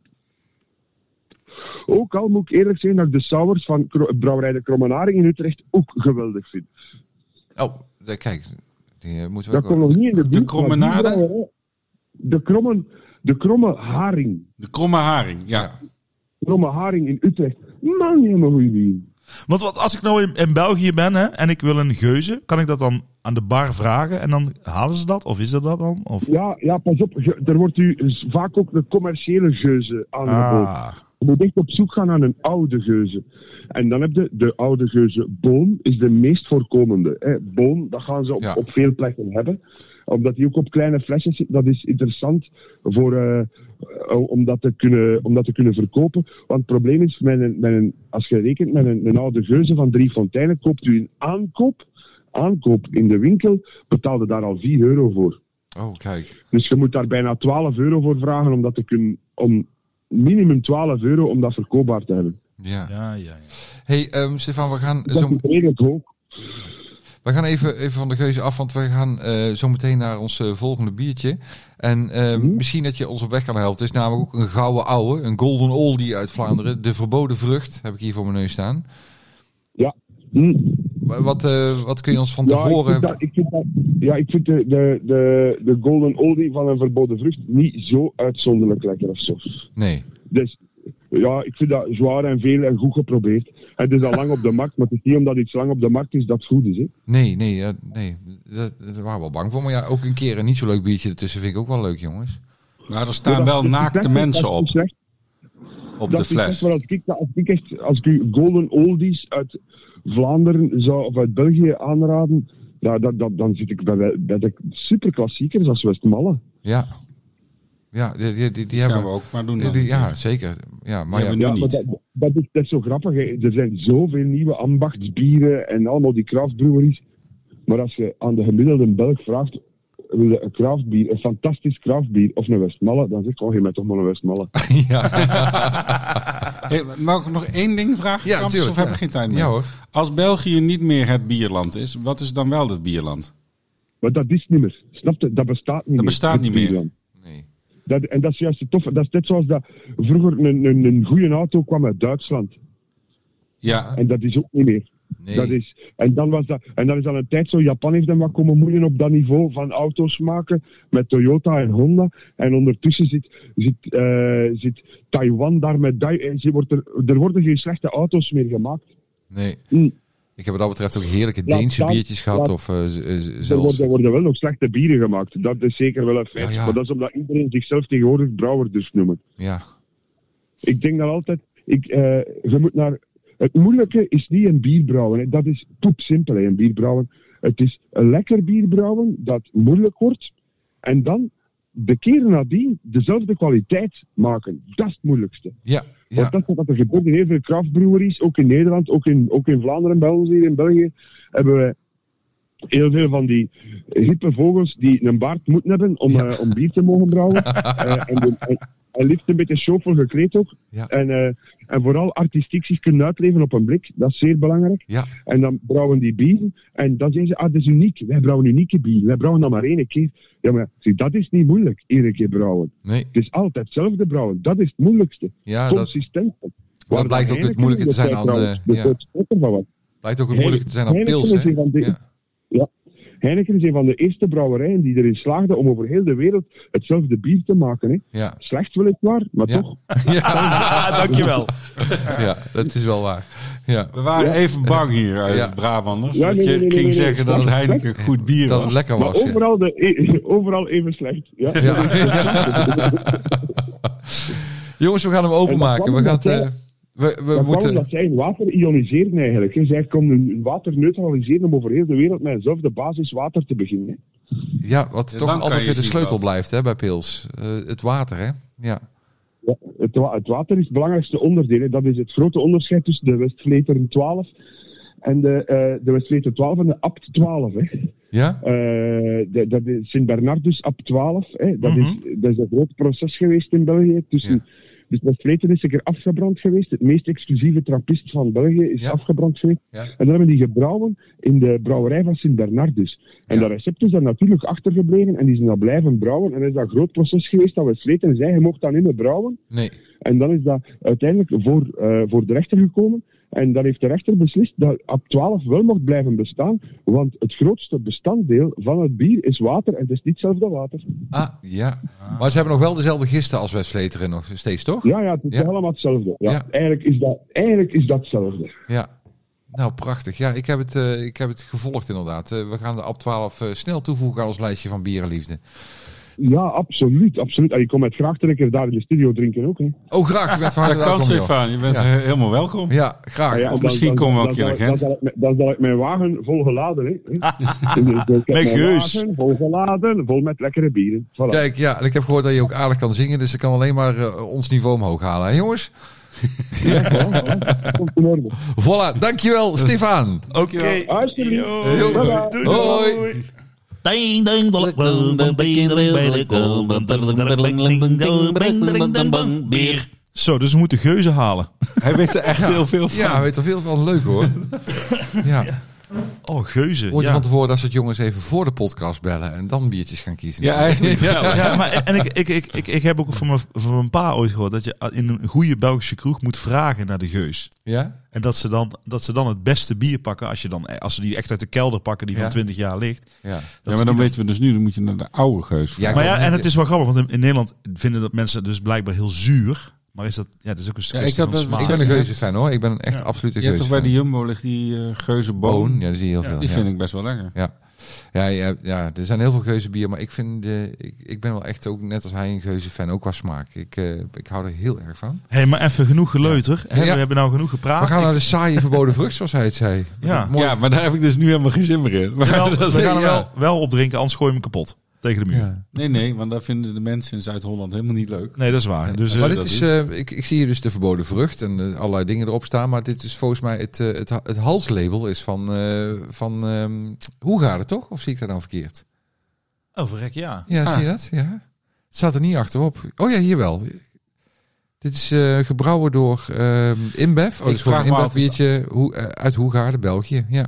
Speaker 6: Ook al moet ik eerlijk zeggen dat ik de sours van Kro- Brouwerij de Kromenaring in Utrecht ook geweldig vind.
Speaker 2: Oh, daar- kijk. Die eh, moeten we
Speaker 6: Dat
Speaker 2: ook
Speaker 6: komt
Speaker 2: wel-
Speaker 6: nog niet in de buurt. maar
Speaker 3: Krommenade?
Speaker 6: die brouwerij- De, krommen, de kromme haring.
Speaker 3: De kromme haring, ja.
Speaker 2: Ja.
Speaker 6: Kromme haring in Utrecht. Man, niet helemaal goeie wien.
Speaker 1: Want wat, als ik nou in, in België ben hè, en ik wil een geuze, kan ik dat dan aan de bar vragen en dan halen ze dat? Of is dat dat dan? Of...
Speaker 6: Ja, ja, pas op. je- Er wordt u s- vaak ook een commerciële geuze aangeboden.
Speaker 1: Ah,
Speaker 6: Je moet echt op zoek gaan naar een oude geuze. En dan heb je de oude geuze. Boon is de meest voorkomende. Hè. Boon, dat gaan ze op,
Speaker 2: Ja.
Speaker 6: op veel plekken hebben. Omdat die ook op kleine flesjes zit. Dat is interessant voor, eh, eh, om, dat te kunnen, om dat te kunnen verkopen. Want het probleem is, met een, met een, als je rekent met een, een oude geuze van drie fonteinen, koopt u een aankoop. Aankoop in de winkel betaalde daar al 4 euro voor.
Speaker 2: Oh, kijk.
Speaker 6: Dus je moet daar bijna 12 euro voor vragen om dat te kunnen. Om minimum 12 euro om dat verkoopbaar te hebben.
Speaker 2: Ja.
Speaker 1: ja, ja, ja.
Speaker 2: Hey, ehm, Stefan, we gaan,
Speaker 6: Dat
Speaker 2: zo,
Speaker 6: is redelijk hoog.
Speaker 2: we gaan even, even van de geuze af, want we gaan eh, zo meteen naar ons eh, volgende biertje. En ehm,
Speaker 6: Mhm.
Speaker 2: misschien dat je ons op weg kan helpen. Het is namelijk ook een gouden ouwe, een golden oldie uit Vlaanderen. De verboden vrucht heb ik hier voor mijn neus staan.
Speaker 6: Hm.
Speaker 2: Wa- Wat, eh, wat kun je ons van
Speaker 6: Ja, ik
Speaker 2: tevoren...
Speaker 6: vind, dat, ik vind dat- ja, ik vind de, de, de, de golden oldie van een verboden vrucht niet zo uitzonderlijk lekker of zo.
Speaker 2: Nee.
Speaker 6: Dus ja, ik vind dat zwaar en veel en goed geprobeerd. Het is al lang op de markt, maar het is niet omdat iets lang op de markt is dat het goed is. Hè.
Speaker 2: Nee, nee, ja, nee. Dat- Daar waren we wel bang voor. Maar ja, ook een keer een niet zo leuk biertje ertussen vind ik ook wel leuk, jongens.
Speaker 3: Nou, er staan wel naakte mensen
Speaker 6: Dat is
Speaker 3: op,
Speaker 6: slecht.
Speaker 3: op
Speaker 6: dat
Speaker 3: de
Speaker 6: is echt
Speaker 3: fles.
Speaker 6: wel als ik, als ik echt, als ik u Golden Oldies uit Vlaanderen zou, of uit België aanraden, ja, dat, dat, dan zit ik bij, bij de superklassiekers als Westmalle.
Speaker 2: Ja. Ja, die, die, die, die
Speaker 3: gaan
Speaker 2: hebben
Speaker 3: we ook maar doen.
Speaker 2: die-
Speaker 3: Dan.
Speaker 2: die- ja, zeker. Ja, maar ja,
Speaker 3: Die hebben we nu
Speaker 6: maar
Speaker 3: niet.
Speaker 6: dat, dat, is, dat is zo grappig. hè. Er zijn zoveel nieuwe ambachtsbieren en allemaal die craftbreweries. Maar als je aan de gemiddelde Belg vraagt, wil je een craftbier, een fantastisch craftbier of een Westmalle, dan zegt oh, je bent toch maar een Westmalle.
Speaker 3: Hey, mag ik nog één ding vragen?
Speaker 2: Ja,
Speaker 3: Kamps,
Speaker 2: tuurlijk,
Speaker 3: Of heb
Speaker 2: ja.
Speaker 3: ik geen tijd meer?
Speaker 2: Ja, hoor.
Speaker 3: Als België niet meer het bierland is, wat is dan wel het bierland?
Speaker 6: Maar dat is niet meer. Snap je? Dat bestaat niet meer.
Speaker 3: bestaat niet
Speaker 6: dit
Speaker 3: meer.
Speaker 6: bierland.
Speaker 2: nee.
Speaker 6: Dat, en dat is juist het toffe. Dat is net zoals dat vroeger een, een, een goede auto kwam uit Duitsland.
Speaker 3: Ja,
Speaker 6: En dat is ook niet meer.
Speaker 2: nee.
Speaker 6: Dat is, en, dan was dat, en dan is al een tijd zo, Japan heeft dan wat komen moeien op dat niveau van auto's maken met Toyota en Honda. En ondertussen zit, zit, eh, zit Taiwan daar met... Dai- en ze wordt er, er worden geen slechte auto's meer gemaakt.
Speaker 2: nee.
Speaker 6: Mm.
Speaker 2: Ik heb wat dat betreft ook heerlijke
Speaker 6: Ja,
Speaker 2: Deense
Speaker 6: dat-
Speaker 2: biertjes gehad.
Speaker 6: ja.
Speaker 2: Of eh, z- eh, z-
Speaker 6: Er
Speaker 2: zelfs...
Speaker 6: worden, worden wel nog slechte bieren gemaakt. Dat is zeker wel een feit.
Speaker 2: Ja, ja.
Speaker 6: Maar dat is omdat iedereen zichzelf tegenwoordig brouwer dus noemen.
Speaker 2: Ja.
Speaker 6: Ik denk dat altijd, ik, eh, je moet naar, het moeilijke is niet een bier brouwen. hè. Dat is poepsimpel, hè, een bier brouwen. Het is een lekker bier brouwen dat moeilijk wordt. En dan de keer nadien dezelfde kwaliteit maken. Dat is het moeilijkste.
Speaker 2: Ja, ja.
Speaker 6: Want dat is wat er gebeurt in heel veel craftbreweries, ook in Nederland, ook in, ook in Vlaanderen, bij ons hier in België, hebben we heel veel van die hippe vogels die een baard moeten hebben om, eh, om bier te mogen brouwen. Eh, en, de- en, en liefst een beetje chauffeur gekleed ook.
Speaker 2: Ja.
Speaker 6: En, eh, en vooral artistiek zich kunnen uitleven op een blik, dat is zeer belangrijk.
Speaker 2: Ja.
Speaker 6: En dan brouwen die bieren en dan zeggen ze, ah, dat is uniek, wij brouwen unieke bieren, wij brouwen dat maar één keer. Ja, maar zie, dat is niet moeilijk, iedere keer brouwen.
Speaker 2: Nee.
Speaker 6: Het is altijd hetzelfde brouwen, dat is het moeilijkste
Speaker 2: Ja, dat
Speaker 6: consistent.
Speaker 2: dat blijkt ook het moeilijke te zijn aan de- ja. blijkt ook het moeilijk te zijn aan
Speaker 6: Heineken
Speaker 2: pils.
Speaker 6: is
Speaker 2: Hè?
Speaker 6: een van de-
Speaker 2: Ja.
Speaker 6: Heineken is een van de eerste brouwerijen die erin slaagde om over heel de wereld hetzelfde bier te maken. Hè.
Speaker 2: Ja.
Speaker 6: Slecht weliswaar, maar
Speaker 2: Ja. oh,
Speaker 6: toch.
Speaker 2: Ja.
Speaker 5: Dankjewel.
Speaker 2: ja, dat is wel waar. Ja.
Speaker 3: we waren even bang hier uit
Speaker 2: Ja.
Speaker 3: Brabanders.
Speaker 6: Ja,
Speaker 3: dat
Speaker 6: nee,
Speaker 3: je
Speaker 6: nee, nee,
Speaker 3: ging
Speaker 6: nee, nee.
Speaker 3: zeggen dat het Heineken goed bier
Speaker 2: Dat het
Speaker 3: was.
Speaker 2: lekker
Speaker 6: Maar
Speaker 2: was. Ja.
Speaker 6: overal, de, eh, overal even slecht. Ja.
Speaker 2: Ja. Jongens, we gaan hem openmaken. We,
Speaker 6: En
Speaker 2: gaan,
Speaker 6: dat kwam
Speaker 2: het, eh, we, we
Speaker 6: Dat kwam
Speaker 2: moeten...
Speaker 6: omdat zij hun water ioniseren eigenlijk. Hè. Zij kon hun water neutraliseren om over heel de wereld met zelf de basis water te beginnen. Hè.
Speaker 2: Ja, wat
Speaker 3: Ja, dan
Speaker 2: toch
Speaker 3: kan
Speaker 2: altijd
Speaker 3: je
Speaker 2: weer de
Speaker 3: zien
Speaker 2: sleutel
Speaker 3: wat.
Speaker 2: blijft hè, bij pils. Eh, het water, hè? Ja.
Speaker 6: Ja, het, wa- het water is het belangrijkste onderdeel. hè. Dat is het grote onderscheid tussen de Westfleter 12 en de, eh de Westfleter 12 en de Abt 12. Hè.
Speaker 2: Ja?
Speaker 6: Eh, de- dat is Sint Bernardus Abt 12. Hè. Dat, is, dat is een groot proces geweest in België. Tussen,
Speaker 2: Mhm. Ja.
Speaker 6: Dus Westfleter is zeker afgebrand geweest. Het meest exclusieve trappist van België is
Speaker 2: Ja.
Speaker 6: afgebrand geweest.
Speaker 2: Ja.
Speaker 6: En dan hebben die gebrouwen in de brouwerij van Sint Bernardus. En
Speaker 2: Ja.
Speaker 6: dat recept is daar natuurlijk achtergebleven en die zijn daar blijven brouwen. En dat is dat groot proces geweest dat Westfleter zei, je mocht dat niet meer brouwen.
Speaker 2: Nee.
Speaker 6: En dan is dat uiteindelijk voor, eh, voor de rechter gekomen. En dan heeft de rechter beslist dat ab 12 wel mocht blijven bestaan. Want het grootste bestanddeel van het bier is water. En het is niet hetzelfde water.
Speaker 2: Ah, ja. Maar ze hebben nog wel dezelfde gisten als wij Sleteren nog steeds, toch?
Speaker 6: Ja, ja het is
Speaker 2: Ja.
Speaker 6: allemaal hetzelfde. Ja,
Speaker 2: Ja.
Speaker 6: Eigenlijk, is dat, eigenlijk is dat hetzelfde.
Speaker 2: Ja. Nou, prachtig. Ja, ik heb het, eh, ik heb het gevolgd inderdaad. Eh, we gaan de AB12 eh, snel toevoegen aan ons lijstje van bierenliefde.
Speaker 6: Ja, absoluut. absoluut. En je komt met graag een keer daar in de studio drinken ook. Hè.
Speaker 2: Oh, graag. Je bent van
Speaker 3: Dat
Speaker 2: harte
Speaker 3: kan,
Speaker 2: welkom, joh.
Speaker 3: Stefan. Je bent
Speaker 2: Ja.
Speaker 3: he- helemaal welkom.
Speaker 2: Ja, graag.
Speaker 6: Ah ja,
Speaker 3: of
Speaker 6: dan-
Speaker 3: misschien
Speaker 6: dan-
Speaker 3: komen we
Speaker 6: dan
Speaker 3: een keer
Speaker 6: zal
Speaker 3: naar
Speaker 6: ik- dan
Speaker 3: Gent.
Speaker 6: zal ik mijn- Dan zal ik mijn wagen volgeladen. Hè. Dus ik heb mijn
Speaker 3: geus.
Speaker 6: wagen Volgeladen, vol met lekkere bieren. Voilà.
Speaker 2: Kijk, ja, en ik heb gehoord dat je ook aardig kan zingen, dus ik kan alleen maar eh, ons niveau omhoog halen. Hè, jongens,
Speaker 6: Komt in orde.
Speaker 2: voilà. Dankjewel, Stefan.
Speaker 5: Oké.
Speaker 6: Alsjeblieft.
Speaker 5: Yo.
Speaker 6: Bye bye.
Speaker 5: Doei,
Speaker 2: Hoi.
Speaker 5: doei.
Speaker 7: Ding ding dong dong dong ding ding bij de kol, dong dong dong dong ding dong ding ding dong dong. Bier.
Speaker 1: Zo, dus we moeten geuzen halen.
Speaker 3: Hij weet er echt heel veel van.
Speaker 2: Ja, weet er veel van. Leuk hoor. Ja.
Speaker 1: Oh, geuzen.
Speaker 2: Hoort je
Speaker 1: Ja.
Speaker 2: van tevoren dat soort jongens even voor de podcast bellen en dan biertjes gaan kiezen?
Speaker 3: Ja, eigenlijk wel.
Speaker 1: Ja, maar en ik, ik, ik, ik, ik heb ook van mijn, van mijn pa ooit gehoord dat je in een goede Belgische kroeg moet vragen naar de geus.
Speaker 2: Ja?
Speaker 1: En dat ze dan, dat ze dan het beste bier pakken als, je dan, als ze die echt uit de kelder pakken die
Speaker 2: Ja.
Speaker 1: van 20 jaar ligt.
Speaker 2: Ja.
Speaker 3: Ja, maar dan weten we dus nu, dan moet je naar de oude geus vragen.
Speaker 2: Ja,
Speaker 1: Maar
Speaker 2: ik
Speaker 1: ja,
Speaker 2: wou
Speaker 1: en
Speaker 2: net-
Speaker 1: het is wel grappig, want in, in Nederland vinden dat mensen dus blijkbaar heel zuur. Maar is dat, ja, dat is ook een
Speaker 3: Ja, ik
Speaker 1: kwestie
Speaker 3: had
Speaker 1: van
Speaker 3: dat-
Speaker 1: smaak.
Speaker 2: Ik ben een geuze fan hoor. Ik ben een echt absolute
Speaker 3: Je hebt
Speaker 2: geuze
Speaker 3: toch bij de Jumbo ligt die eh, geuzenboon.
Speaker 2: Ja, dat zie je heel veel.
Speaker 3: Die
Speaker 2: ja.
Speaker 3: vind ik best wel lekker.
Speaker 2: Ja. Ja, ja, ja, er zijn heel veel geuze bier, maar ik, vind, eh, ik, ik ben wel echt ook net als hij een geuze fan, ook qua smaak. Ik, eh, ik hou er heel erg van.
Speaker 1: Hé, hey, maar even genoeg geleuter. Hè,
Speaker 2: Ja.
Speaker 1: We hebben nou genoeg
Speaker 2: We
Speaker 3: Ah,
Speaker 1: gepraat.
Speaker 2: gaan naar de saaie verboden vrucht, zoals hij het zei.
Speaker 1: Ja.
Speaker 2: Mooi.
Speaker 3: Ja, maar daar heb ik dus nu helemaal geen zin meer in. Maar
Speaker 1: Terwijl,
Speaker 3: dat-
Speaker 1: we gaan er
Speaker 2: ja.
Speaker 1: wel, wel op drinken, anders gooi je hem kapot. tegen de muur.
Speaker 2: Ja.
Speaker 3: Nee, nee, want dat vinden de mensen in Zuid-Holland helemaal niet leuk.
Speaker 1: Nee, dat is waar. Dus, eh,
Speaker 2: maar dit
Speaker 1: dat
Speaker 2: is, eh, ik, ik zie hier dus de verboden vrucht en eh, allerlei dingen erop staan. Maar dit is volgens mij het, eh, het, ha- het halslabel is van, eh van ehm, hoe gaat het toch? Of zie ik dat dan verkeerd?
Speaker 5: Oh, verrek, ja.
Speaker 2: Ja, zie je dat? Ja. Het staat er niet achterop. Oh ja, hier wel. Dit is eh, gebrouwen door ehm InBev. Oh,
Speaker 3: Ik
Speaker 2: dat is gewoon
Speaker 3: vraag
Speaker 2: een
Speaker 3: me
Speaker 2: InBev
Speaker 3: af, is
Speaker 2: biertje hoe, eh, uit Hoegaarden, België. Ja.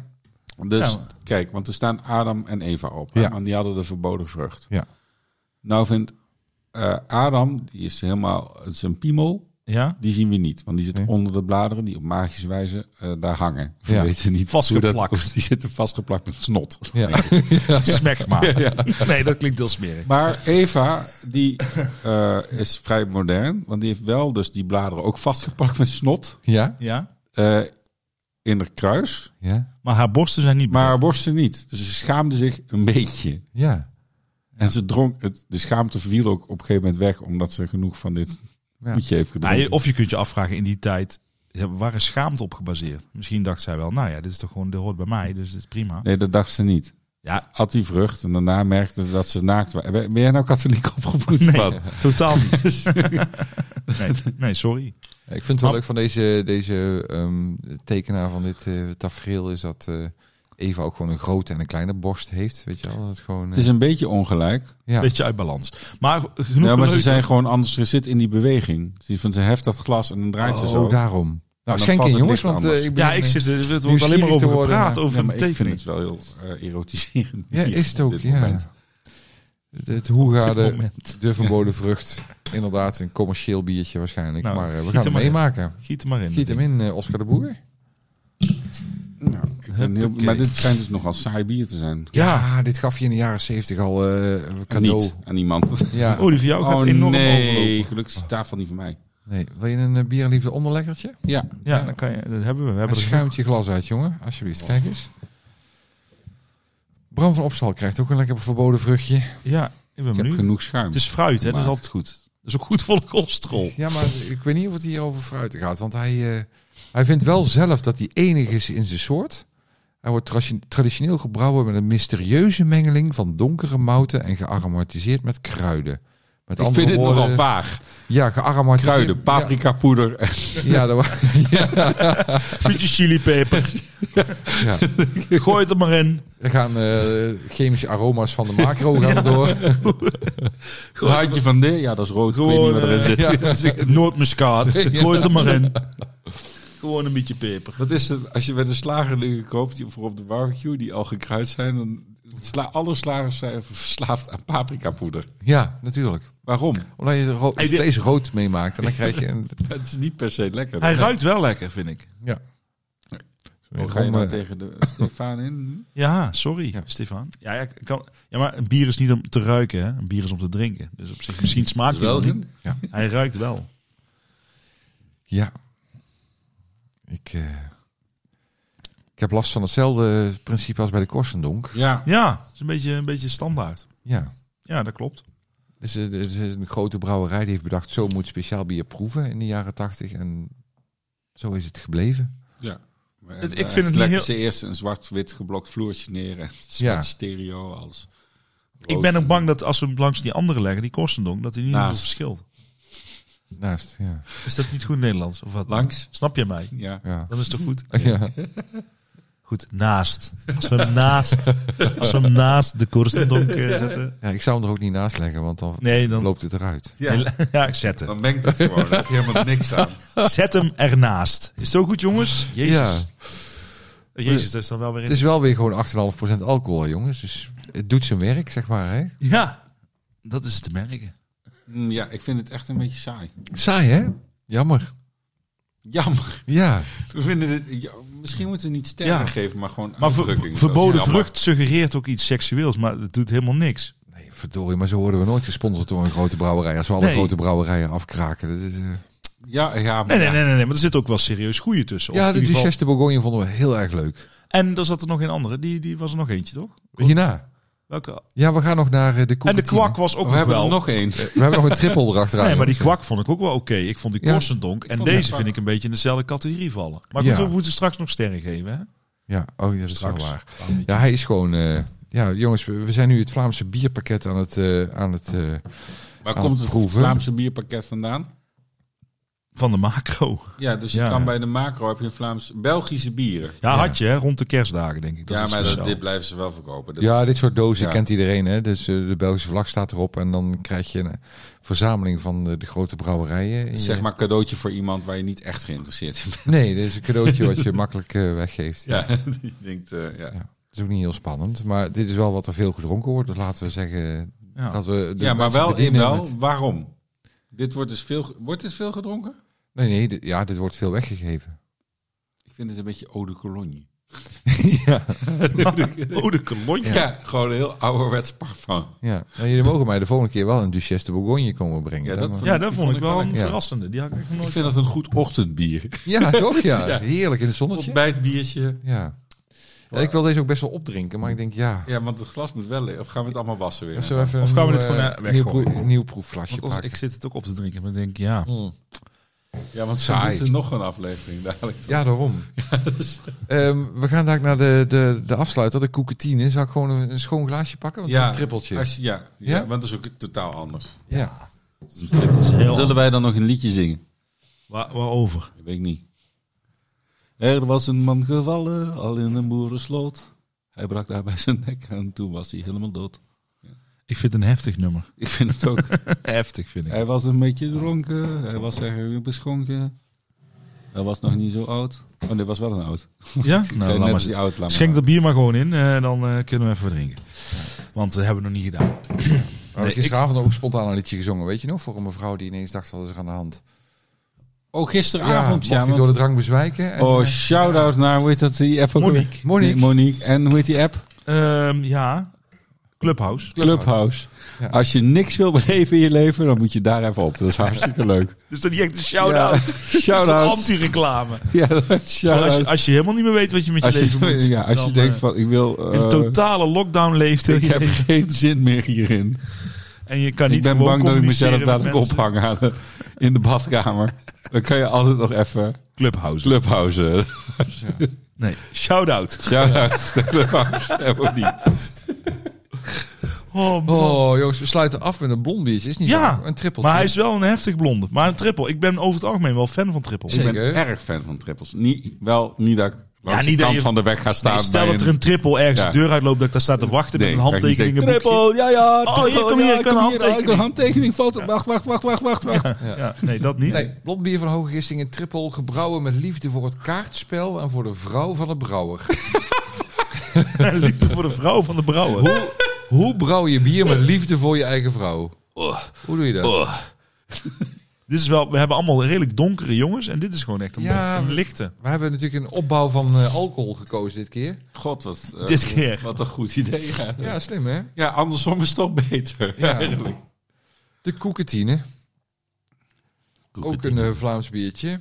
Speaker 3: Dus
Speaker 5: Ja.
Speaker 3: kijk, want er staan Adam en Eva op. hè,
Speaker 2: Ja.
Speaker 3: Want die hadden de verboden vrucht.
Speaker 2: Ja.
Speaker 3: Nou vindt eh, Adam, die is helemaal het is een piemel.
Speaker 1: Ja?
Speaker 3: Die zien we niet, want die zit
Speaker 2: Nee.
Speaker 3: onder de bladeren die op magische wijze eh, daar hangen. We
Speaker 2: Ja.
Speaker 3: weten niet Hoe
Speaker 1: Vastgeplakt.
Speaker 3: dat, of die zitten vastgeplakt met snot.
Speaker 2: Ja.
Speaker 1: Smek maar. Nee, dat klinkt heel smerig.
Speaker 3: Maar Eva, die eh, is vrij modern, want die heeft wel dus die bladeren ook vastgepakt met snot
Speaker 2: ja.
Speaker 1: Ja?
Speaker 3: eh, in haar kruis,
Speaker 2: Ja.
Speaker 1: Maar haar borsten zijn niet
Speaker 3: maar haar borsten niet. Dus ze schaamde zich een beetje.
Speaker 2: Ja.
Speaker 3: En ze dronk, het, de schaamte viel ook op een gegeven moment weg, omdat ze genoeg van dit
Speaker 2: Ja.
Speaker 3: goedje heeft
Speaker 1: Nou,
Speaker 3: gedronken.
Speaker 1: je- of je kunt je afvragen in die tijd, ja, waar is schaamte op gebaseerd? Misschien dacht zij wel, nou ja, dit is toch gewoon, dit hoort bij mij, dus dit is prima.
Speaker 3: Nee, dat dacht ze niet.
Speaker 1: Ja.
Speaker 3: At die vrucht en daarna merkte ze dat ze naakt was. Ben ben jij nou katholiek opgevoed? of wat?
Speaker 1: totaal niet. Dus- nee, nee, sorry.
Speaker 2: Ik vind het wel
Speaker 1: Maar-
Speaker 2: leuk van deze, deze ehm, tekenaar van dit eh, tafereel is dat eh, Eva ook gewoon een grote en een kleine borst heeft. Weet je wel? Dat het gewoon,
Speaker 3: Het
Speaker 2: eh,
Speaker 3: is een beetje ongelijk.
Speaker 2: ja.
Speaker 1: Beetje uit balans. Maar genoeg
Speaker 3: Ja, maar ze
Speaker 1: geleuter.
Speaker 3: zijn gewoon anders. Ze zit in die beweging. Ze, van, ze heft dat glas en dan draait ze
Speaker 2: Oh,
Speaker 3: zo.
Speaker 2: daarom. Nou,
Speaker 3: dan
Speaker 2: schenk
Speaker 3: valt
Speaker 2: in
Speaker 3: het
Speaker 2: jongens,
Speaker 3: licht
Speaker 2: want eh,
Speaker 3: anders.
Speaker 2: ik ben...
Speaker 1: Ja, ik zit, er- het wordt
Speaker 2: nieuwsgierig
Speaker 1: alleen maar over
Speaker 2: te worden,
Speaker 1: gepraat,
Speaker 2: ja.
Speaker 1: over
Speaker 3: Ja,
Speaker 1: de
Speaker 3: maar ik vind
Speaker 1: tekening.
Speaker 3: het wel heel eh, erotiserend.
Speaker 2: Ja,
Speaker 3: hier
Speaker 2: is het
Speaker 3: op
Speaker 2: ook,
Speaker 3: dit
Speaker 2: ja.
Speaker 3: moment.
Speaker 2: Het, het hoegaarde,
Speaker 1: moment.
Speaker 2: de verboden vrucht. Inderdaad, een commercieel biertje waarschijnlijk.
Speaker 1: Nou,
Speaker 2: maar eh, we
Speaker 1: giet
Speaker 2: gaan het
Speaker 1: hem maar in.
Speaker 2: meemaken.
Speaker 1: Giet er maar in.
Speaker 2: Giet hem in, eh, Oscar de Boer.
Speaker 3: Nou, ik ben heel,
Speaker 1: Huppakee.
Speaker 3: maar dit schijnt dus nogal saai bier te zijn.
Speaker 2: Ja, dit gaf je in de jaren zeventig al eh cadeau.
Speaker 3: Niet aan iemand.
Speaker 2: Ja.
Speaker 1: Oh, die van jou gaat
Speaker 3: Oh
Speaker 1: enorm
Speaker 3: nee,
Speaker 1: overlopen.
Speaker 3: gelukkig is de tafel niet van mij.
Speaker 2: Nee, wil je een eh, bier en liefde onderleggertje?
Speaker 3: Ja,
Speaker 1: Ja, dan kan je, dat hebben we. we
Speaker 2: En
Speaker 1: hebben er-
Speaker 2: schuimt je glas uit, jongen. Alsjeblieft, kijk eens. Bram van Opstal krijgt ook een lekker verboden vruchtje.
Speaker 1: ja, ik ben
Speaker 3: ik heb
Speaker 1: benieuwd.
Speaker 3: genoeg schuim.
Speaker 1: Het is fruit, hè? Dat is
Speaker 3: Maar-
Speaker 1: altijd goed. Dat is ook goed voor de cholesterol.
Speaker 2: Ja, maar ik weet niet of het hier over fruiten gaat. Want hij, eh, hij vindt wel zelf dat hij enig is in zijn soort. Hij wordt tradi- traditioneel gebrouwen met een mysterieuze mengeling van donkere mouten en gearomatiseerd met kruiden. Met
Speaker 3: ik
Speaker 2: andere
Speaker 3: vind dit
Speaker 2: woorden-
Speaker 3: nogal vaag.
Speaker 2: Ja, gearomatiseerd.
Speaker 3: Kruiden, paprika poeder. en-
Speaker 2: eh, Ja, ja, dat wa- ja,
Speaker 1: Beetje chilipeper.
Speaker 2: ja.
Speaker 1: Gooi het er maar in.
Speaker 2: Er gaan eh, chemische aroma's van de macro gaan door.
Speaker 3: Haartje van dit. Ja, dat is rood. Ik weet
Speaker 1: Gewoon,
Speaker 3: niet wat erin
Speaker 1: eh,
Speaker 3: zit.
Speaker 1: Noordmuskaat.
Speaker 2: Ja.
Speaker 1: Gooi het er maar in. Gewoon een beetje peper.
Speaker 3: Dat is het, als je bij de slager dingen koopt, die, voor op de barbecue, die al gekruid zijn, dan sla, alle slagers zijn verslaafd aan paprikapoeder.
Speaker 2: Ja, natuurlijk.
Speaker 3: Waarom?
Speaker 2: Omdat je er ro-
Speaker 1: Hey, dit-
Speaker 2: vlees rood meemaakt. En dan krijg je een...
Speaker 3: Het is niet per se lekker.
Speaker 1: Hij ruikt wel lekker, vind ik.
Speaker 2: Ja.
Speaker 3: Hoe ga je nou
Speaker 2: Eh,
Speaker 3: tegen de Stefan in?
Speaker 1: Ja, sorry,
Speaker 2: Ja.
Speaker 1: Stefan. Ja, ja, ik kan, ja, maar een bier is niet om te ruiken, hè? Een bier is om te drinken. Dus op zich, misschien smaakt hij wel niet.
Speaker 2: Ja.
Speaker 1: Hij ruikt wel.
Speaker 2: Ja. Ik, eh, ik heb last van hetzelfde principe als bij de Korsendonk.
Speaker 3: Ja.
Speaker 1: Ja, is een beetje, een beetje standaard.
Speaker 2: Ja.
Speaker 1: Ja, dat klopt.
Speaker 2: Dus, eh, er is een grote brouwerij die heeft bedacht, zo moet speciaal bier proeven in de jaren tachtig. En zo is het gebleven.
Speaker 1: Het- ik
Speaker 3: Daar
Speaker 1: vind het niet
Speaker 3: leggen
Speaker 1: heel-
Speaker 3: eh, ze eerst een zwart-wit geblokt vloertje neer en
Speaker 2: Ja.
Speaker 3: ja. stereo als...
Speaker 1: Ik ben ook bang dat als we hem langs die andere leggen, die Korstendonk, dat hij niet
Speaker 3: Naast.
Speaker 1: heel veel verschilt.
Speaker 2: Naast, ja.
Speaker 1: Is dat niet goed Nederlands? Of wat?
Speaker 3: Langs?
Speaker 1: Snap je mij?
Speaker 3: Ja.
Speaker 2: Ja.
Speaker 1: Dat is toch goed?
Speaker 2: ja.
Speaker 1: Goed, naast. Als we hem naast, als we hem naast de Korstendonk eh, zetten.
Speaker 2: ja, ik zou hem er ook niet naast leggen, want dan,
Speaker 1: Nee, dan...
Speaker 2: loopt het eruit.
Speaker 3: Ja.
Speaker 1: Ja, ik zet hem.
Speaker 3: Dan ben ik het gewoon. Daar heb je helemaal niks aan.
Speaker 1: Zet hem ernaast. Is het ook goed, jongens? Jezus. Eh,
Speaker 2: Ja.
Speaker 1: Jezus, dat is dan wel weer in.
Speaker 2: Het is wel weer gewoon 8,5% alcohol, hè, jongens. Dus het doet zijn werk, zeg maar. Hè?
Speaker 1: Ja, dat is te merken.
Speaker 3: Mm, Ja, ik vind het echt een beetje saai.
Speaker 2: Saai, hè? Jammer.
Speaker 3: Jammer.
Speaker 2: Ja.
Speaker 3: We vinden dit, ja, misschien moeten we niet sterren
Speaker 1: Ja.
Speaker 3: geven, maar gewoon
Speaker 1: Maar ver-
Speaker 3: uitdrukking.
Speaker 1: verboden
Speaker 3: Jammer.
Speaker 1: vrucht suggereert ook iets seksueels, maar het doet helemaal niks.
Speaker 2: Nee, verdorie, maar zo worden we nooit gesponsord door een grote brouwerij. Als we alle
Speaker 1: Nee.
Speaker 2: grote brouwerijen afkraken. Dat is, eh,
Speaker 3: Ja, ja, maar
Speaker 1: Nee, nee, nee, nee, nee maar er zit ook wel serieus goeie tussen. Of
Speaker 2: Ja,
Speaker 1: in
Speaker 2: de
Speaker 1: ieder geval-
Speaker 2: Duchesse de Bourgogne vonden we heel erg leuk.
Speaker 1: En er zat er nog een andere, die, die was er nog eentje, toch?
Speaker 2: Hierna.
Speaker 1: Welke?
Speaker 2: Ja, we gaan nog naar eh, de koek.
Speaker 1: En de kwak was ook
Speaker 3: we
Speaker 1: nog
Speaker 3: hebben
Speaker 1: wel.
Speaker 3: er nog één.
Speaker 2: We hebben nog een triple erachteraan.
Speaker 1: nee, maar die kwak vond ik ook wel oké. Ik vond die
Speaker 2: Ja.
Speaker 1: Korsendonk en
Speaker 3: vond die
Speaker 1: deze
Speaker 3: kwak.
Speaker 1: vind ik een beetje in dezelfde categorie vallen. Maar
Speaker 2: Ja.
Speaker 1: goed, we moeten straks nog sterren geven, hè?
Speaker 2: Ja, oh, ja, dat is wel
Speaker 1: Straks.
Speaker 2: waar.
Speaker 1: Waarom niet?
Speaker 2: Ja, hij is gewoon... eh, Ja, jongens, we we zijn nu het Vlaamse bierpakket aan het... eh, aan het eh,
Speaker 3: Waar
Speaker 2: Aan
Speaker 3: komt
Speaker 2: het
Speaker 3: het
Speaker 2: proeven.
Speaker 3: Vlaamse bierpakket vandaan?
Speaker 1: Van de macro.
Speaker 3: Ja, dus je
Speaker 1: Ja.
Speaker 3: kan bij de macro heb je Vlaams Belgische bieren.
Speaker 1: Ja,
Speaker 2: Ja.
Speaker 1: had je hè, rond de kerstdagen denk ik. Dat
Speaker 3: ja,
Speaker 1: is
Speaker 3: maar dat,
Speaker 1: speciaal.
Speaker 3: dit blijven ze wel verkopen. Dat
Speaker 2: ja,
Speaker 3: is-
Speaker 2: dit soort dozen
Speaker 3: Ja.
Speaker 2: kent iedereen. Hè? Dus eh, de Belgische vlag staat erop. En dan krijg je een eh, verzameling van de, de grote brouwerijen. in
Speaker 3: zeg
Speaker 2: je-
Speaker 3: maar cadeautje voor iemand waar je niet echt geïnteresseerd in bent.
Speaker 2: Nee, dit is een cadeautje wat je makkelijk eh, weggeeft.
Speaker 3: Ja, die denkt, eh, ja.
Speaker 2: Ja. Dat is ook niet heel spannend. Maar dit is wel wat er veel gedronken wordt. Dus laten we zeggen...
Speaker 1: Ja.
Speaker 2: Dat we de
Speaker 3: ja, maar
Speaker 2: mensen
Speaker 3: wel, in
Speaker 2: bedienen
Speaker 3: wel
Speaker 2: met-
Speaker 3: waarom? Dit wordt dus veel, ge- wordt dit veel gedronken?
Speaker 2: Nee, nee. dit- ja, dit wordt veel weggegeven.
Speaker 3: Ik vind het een beetje eau de cologne.
Speaker 2: ja.
Speaker 1: Oh, de kolonje.
Speaker 3: Ja, gewoon een heel ouderwets parfum.
Speaker 2: ja. Nou, jullie mogen mij de volgende keer wel een Duchesse de Bourgogne komen brengen.
Speaker 3: Ja,
Speaker 2: hè,
Speaker 3: dat
Speaker 2: want-
Speaker 1: Ja, dat vond ik wel een
Speaker 2: lekker.
Speaker 1: verrassende. Die had ik echt nog
Speaker 3: Ik
Speaker 1: nooit.
Speaker 3: vind dat een goed ochtendbier.
Speaker 2: ja toch? Ja. Heerlijk in het zonnetje.
Speaker 3: Ontbijtbiertje.
Speaker 2: Ja. Ja, Ik wil deze ook best wel opdrinken, maar ik denk ja.
Speaker 3: Ja, want het glas moet wel leeg. Of gaan we het allemaal wassen weer?
Speaker 2: Zullen we even
Speaker 1: Of
Speaker 2: een
Speaker 1: gaan we
Speaker 2: nieuw,
Speaker 1: dit gewoon,
Speaker 2: eh,
Speaker 1: eh,
Speaker 2: nieuw,
Speaker 1: weggooien?
Speaker 2: proe- nieuw proefvlasje
Speaker 1: Want als-
Speaker 2: pakken?
Speaker 1: ik zit het ook op te drinken, maar ik denk ja.
Speaker 3: Hmm.
Speaker 2: Mm.
Speaker 3: Ja, want ze
Speaker 2: Saai.
Speaker 3: moeten nog een aflevering dadelijk.
Speaker 2: Ja, daarom. Ehm, we gaan daar naar de, de, de afsluiter, de koeketine. Zal ik gewoon een, een schoon glaasje pakken? Want ja, een trippeltje.
Speaker 3: Als je- ja, ja,
Speaker 2: Ja?
Speaker 3: want dat is ook totaal anders.
Speaker 2: Ja. Nou,
Speaker 1: Dat is heel
Speaker 3: Zullen wij dan nog een liedje zingen?
Speaker 1: Waar, waarover?
Speaker 3: Dat weet ik niet. Er was een man gevallen, al in een boerensloot. Hij brak daarbij zijn nek en toen was hij helemaal dood.
Speaker 1: Ik vind het een heftig nummer.
Speaker 3: Ik vind het ook.
Speaker 1: Heftig vind ik.
Speaker 3: hij was een beetje dronken, hij was eigenlijk beschonken. Hij was nog niet zo oud. Oh, dit was wel een oud.
Speaker 1: Ja?
Speaker 3: Ik
Speaker 1: Nou,
Speaker 3: zei
Speaker 1: laat maar
Speaker 3: net als die
Speaker 1: zitten.
Speaker 3: oud. laat maar.
Speaker 1: Schenk dat bier maar gewoon in, eh, dan eh, kunnen we even drinken. Want we hebben het nog niet gedaan.
Speaker 2: We hadden gisteravond ook spontaan een liedje gezongen, weet je nog? Voor een mevrouw die ineens dacht, wat is er aan de hand?
Speaker 3: Oh,
Speaker 2: Ja,
Speaker 3: gisteravond,
Speaker 2: mocht
Speaker 3: ja.
Speaker 2: hij
Speaker 3: want-
Speaker 2: door de drank bezwijken? En,
Speaker 3: Oh,
Speaker 2: eh,
Speaker 3: shout-out naar, hoe heet dat, die app ook weer?
Speaker 1: Monique.
Speaker 2: Monique.
Speaker 3: Nee, Monique. En hoe heet die app?
Speaker 1: Ehm, ja, Clubhouse.
Speaker 3: Clubhouse.
Speaker 2: Ja.
Speaker 3: Als je niks wil beleven in je leven, dan moet je daar even op. Dat is hartstikke leuk.
Speaker 1: Dus dat is niet echt een shout-out.
Speaker 3: Ja,
Speaker 1: Dat is een
Speaker 3: Shout-out.
Speaker 1: anti-reclame.
Speaker 3: Ja, dat is
Speaker 1: Terwijl Als, je-
Speaker 3: shout-out.
Speaker 1: als je helemaal niet meer weet wat je met je
Speaker 3: Als
Speaker 1: leven moet.
Speaker 3: je, ja, als je
Speaker 1: dan,
Speaker 3: denkt
Speaker 1: eh,
Speaker 3: van, ik wil... eh,
Speaker 1: in totale lockdown leeft
Speaker 3: ik heb geen zin meer hierin.
Speaker 1: en je kan niet
Speaker 3: Ik ben
Speaker 1: gewoon
Speaker 3: bang dat ik mezelf
Speaker 1: communiceren met
Speaker 3: dadelijk
Speaker 1: mensen.
Speaker 3: ophang aan de- in de badkamer. Dan kan je altijd nog even
Speaker 1: Clubhouse.
Speaker 3: Clubhouse. eh,
Speaker 1: Nee, shout-out.
Speaker 3: Shout-out naar Clubhouse. En Monique.
Speaker 1: Oh, man.
Speaker 2: Oh, jongens, we sluiten af met een blond biertje. Is niet
Speaker 1: Ja,
Speaker 2: waar? Een trippeltje.
Speaker 1: maar hij is wel een heftig blonde. Maar een triple. Ik ben over het algemeen wel fan van triple.
Speaker 2: Zeker.
Speaker 3: Ik ben erg fan van trippels. Niet, wel, niet dat ik langs
Speaker 1: niet
Speaker 3: de
Speaker 1: dat
Speaker 3: kant
Speaker 1: je-
Speaker 3: van de weg ga staan.
Speaker 1: Nee, stel
Speaker 3: bij
Speaker 1: dat er een triple ergens
Speaker 3: Ja.
Speaker 1: de deur uitloopt dat ik daar sta te wachten
Speaker 3: Nee,
Speaker 1: met een
Speaker 3: ga ik niet
Speaker 1: handtekening.
Speaker 3: zeggen, triple, ja, ja.
Speaker 1: Oh,
Speaker 3: triple,
Speaker 1: hier, kom hier,
Speaker 3: ja,
Speaker 1: ik wil een handtekening.
Speaker 3: ja, ik wil een handtekening, foto. Wacht, wacht, wacht, wacht, wacht. wacht.
Speaker 1: Ja. Ja, nee, dat niet.
Speaker 2: Nee, blond bier van Hoge Gistingen, trippel, gebrouwen met liefde voor het kaartspel en voor de vrouw van de brouwer.
Speaker 1: Liefde voor de vrouw van de brouwer.
Speaker 2: Hoe brouw je bier met liefde voor je eigen vrouw? Hoe doe je dat?
Speaker 1: Dit is wel, we hebben allemaal redelijk donkere jongens. En dit is gewoon echt een,
Speaker 2: Ja,
Speaker 1: een
Speaker 2: we-
Speaker 1: lichte.
Speaker 2: We hebben natuurlijk een opbouw van eh, alcohol gekozen dit keer.
Speaker 3: God, wat, eh,
Speaker 1: Dit keer.
Speaker 3: wat een goed idee. Ja,
Speaker 2: Ja, slim hè?
Speaker 3: ja andersom is het toch beter.
Speaker 2: Ja.
Speaker 3: Eigenlijk.
Speaker 2: De koeketine. Ook een eh, Vlaams biertje.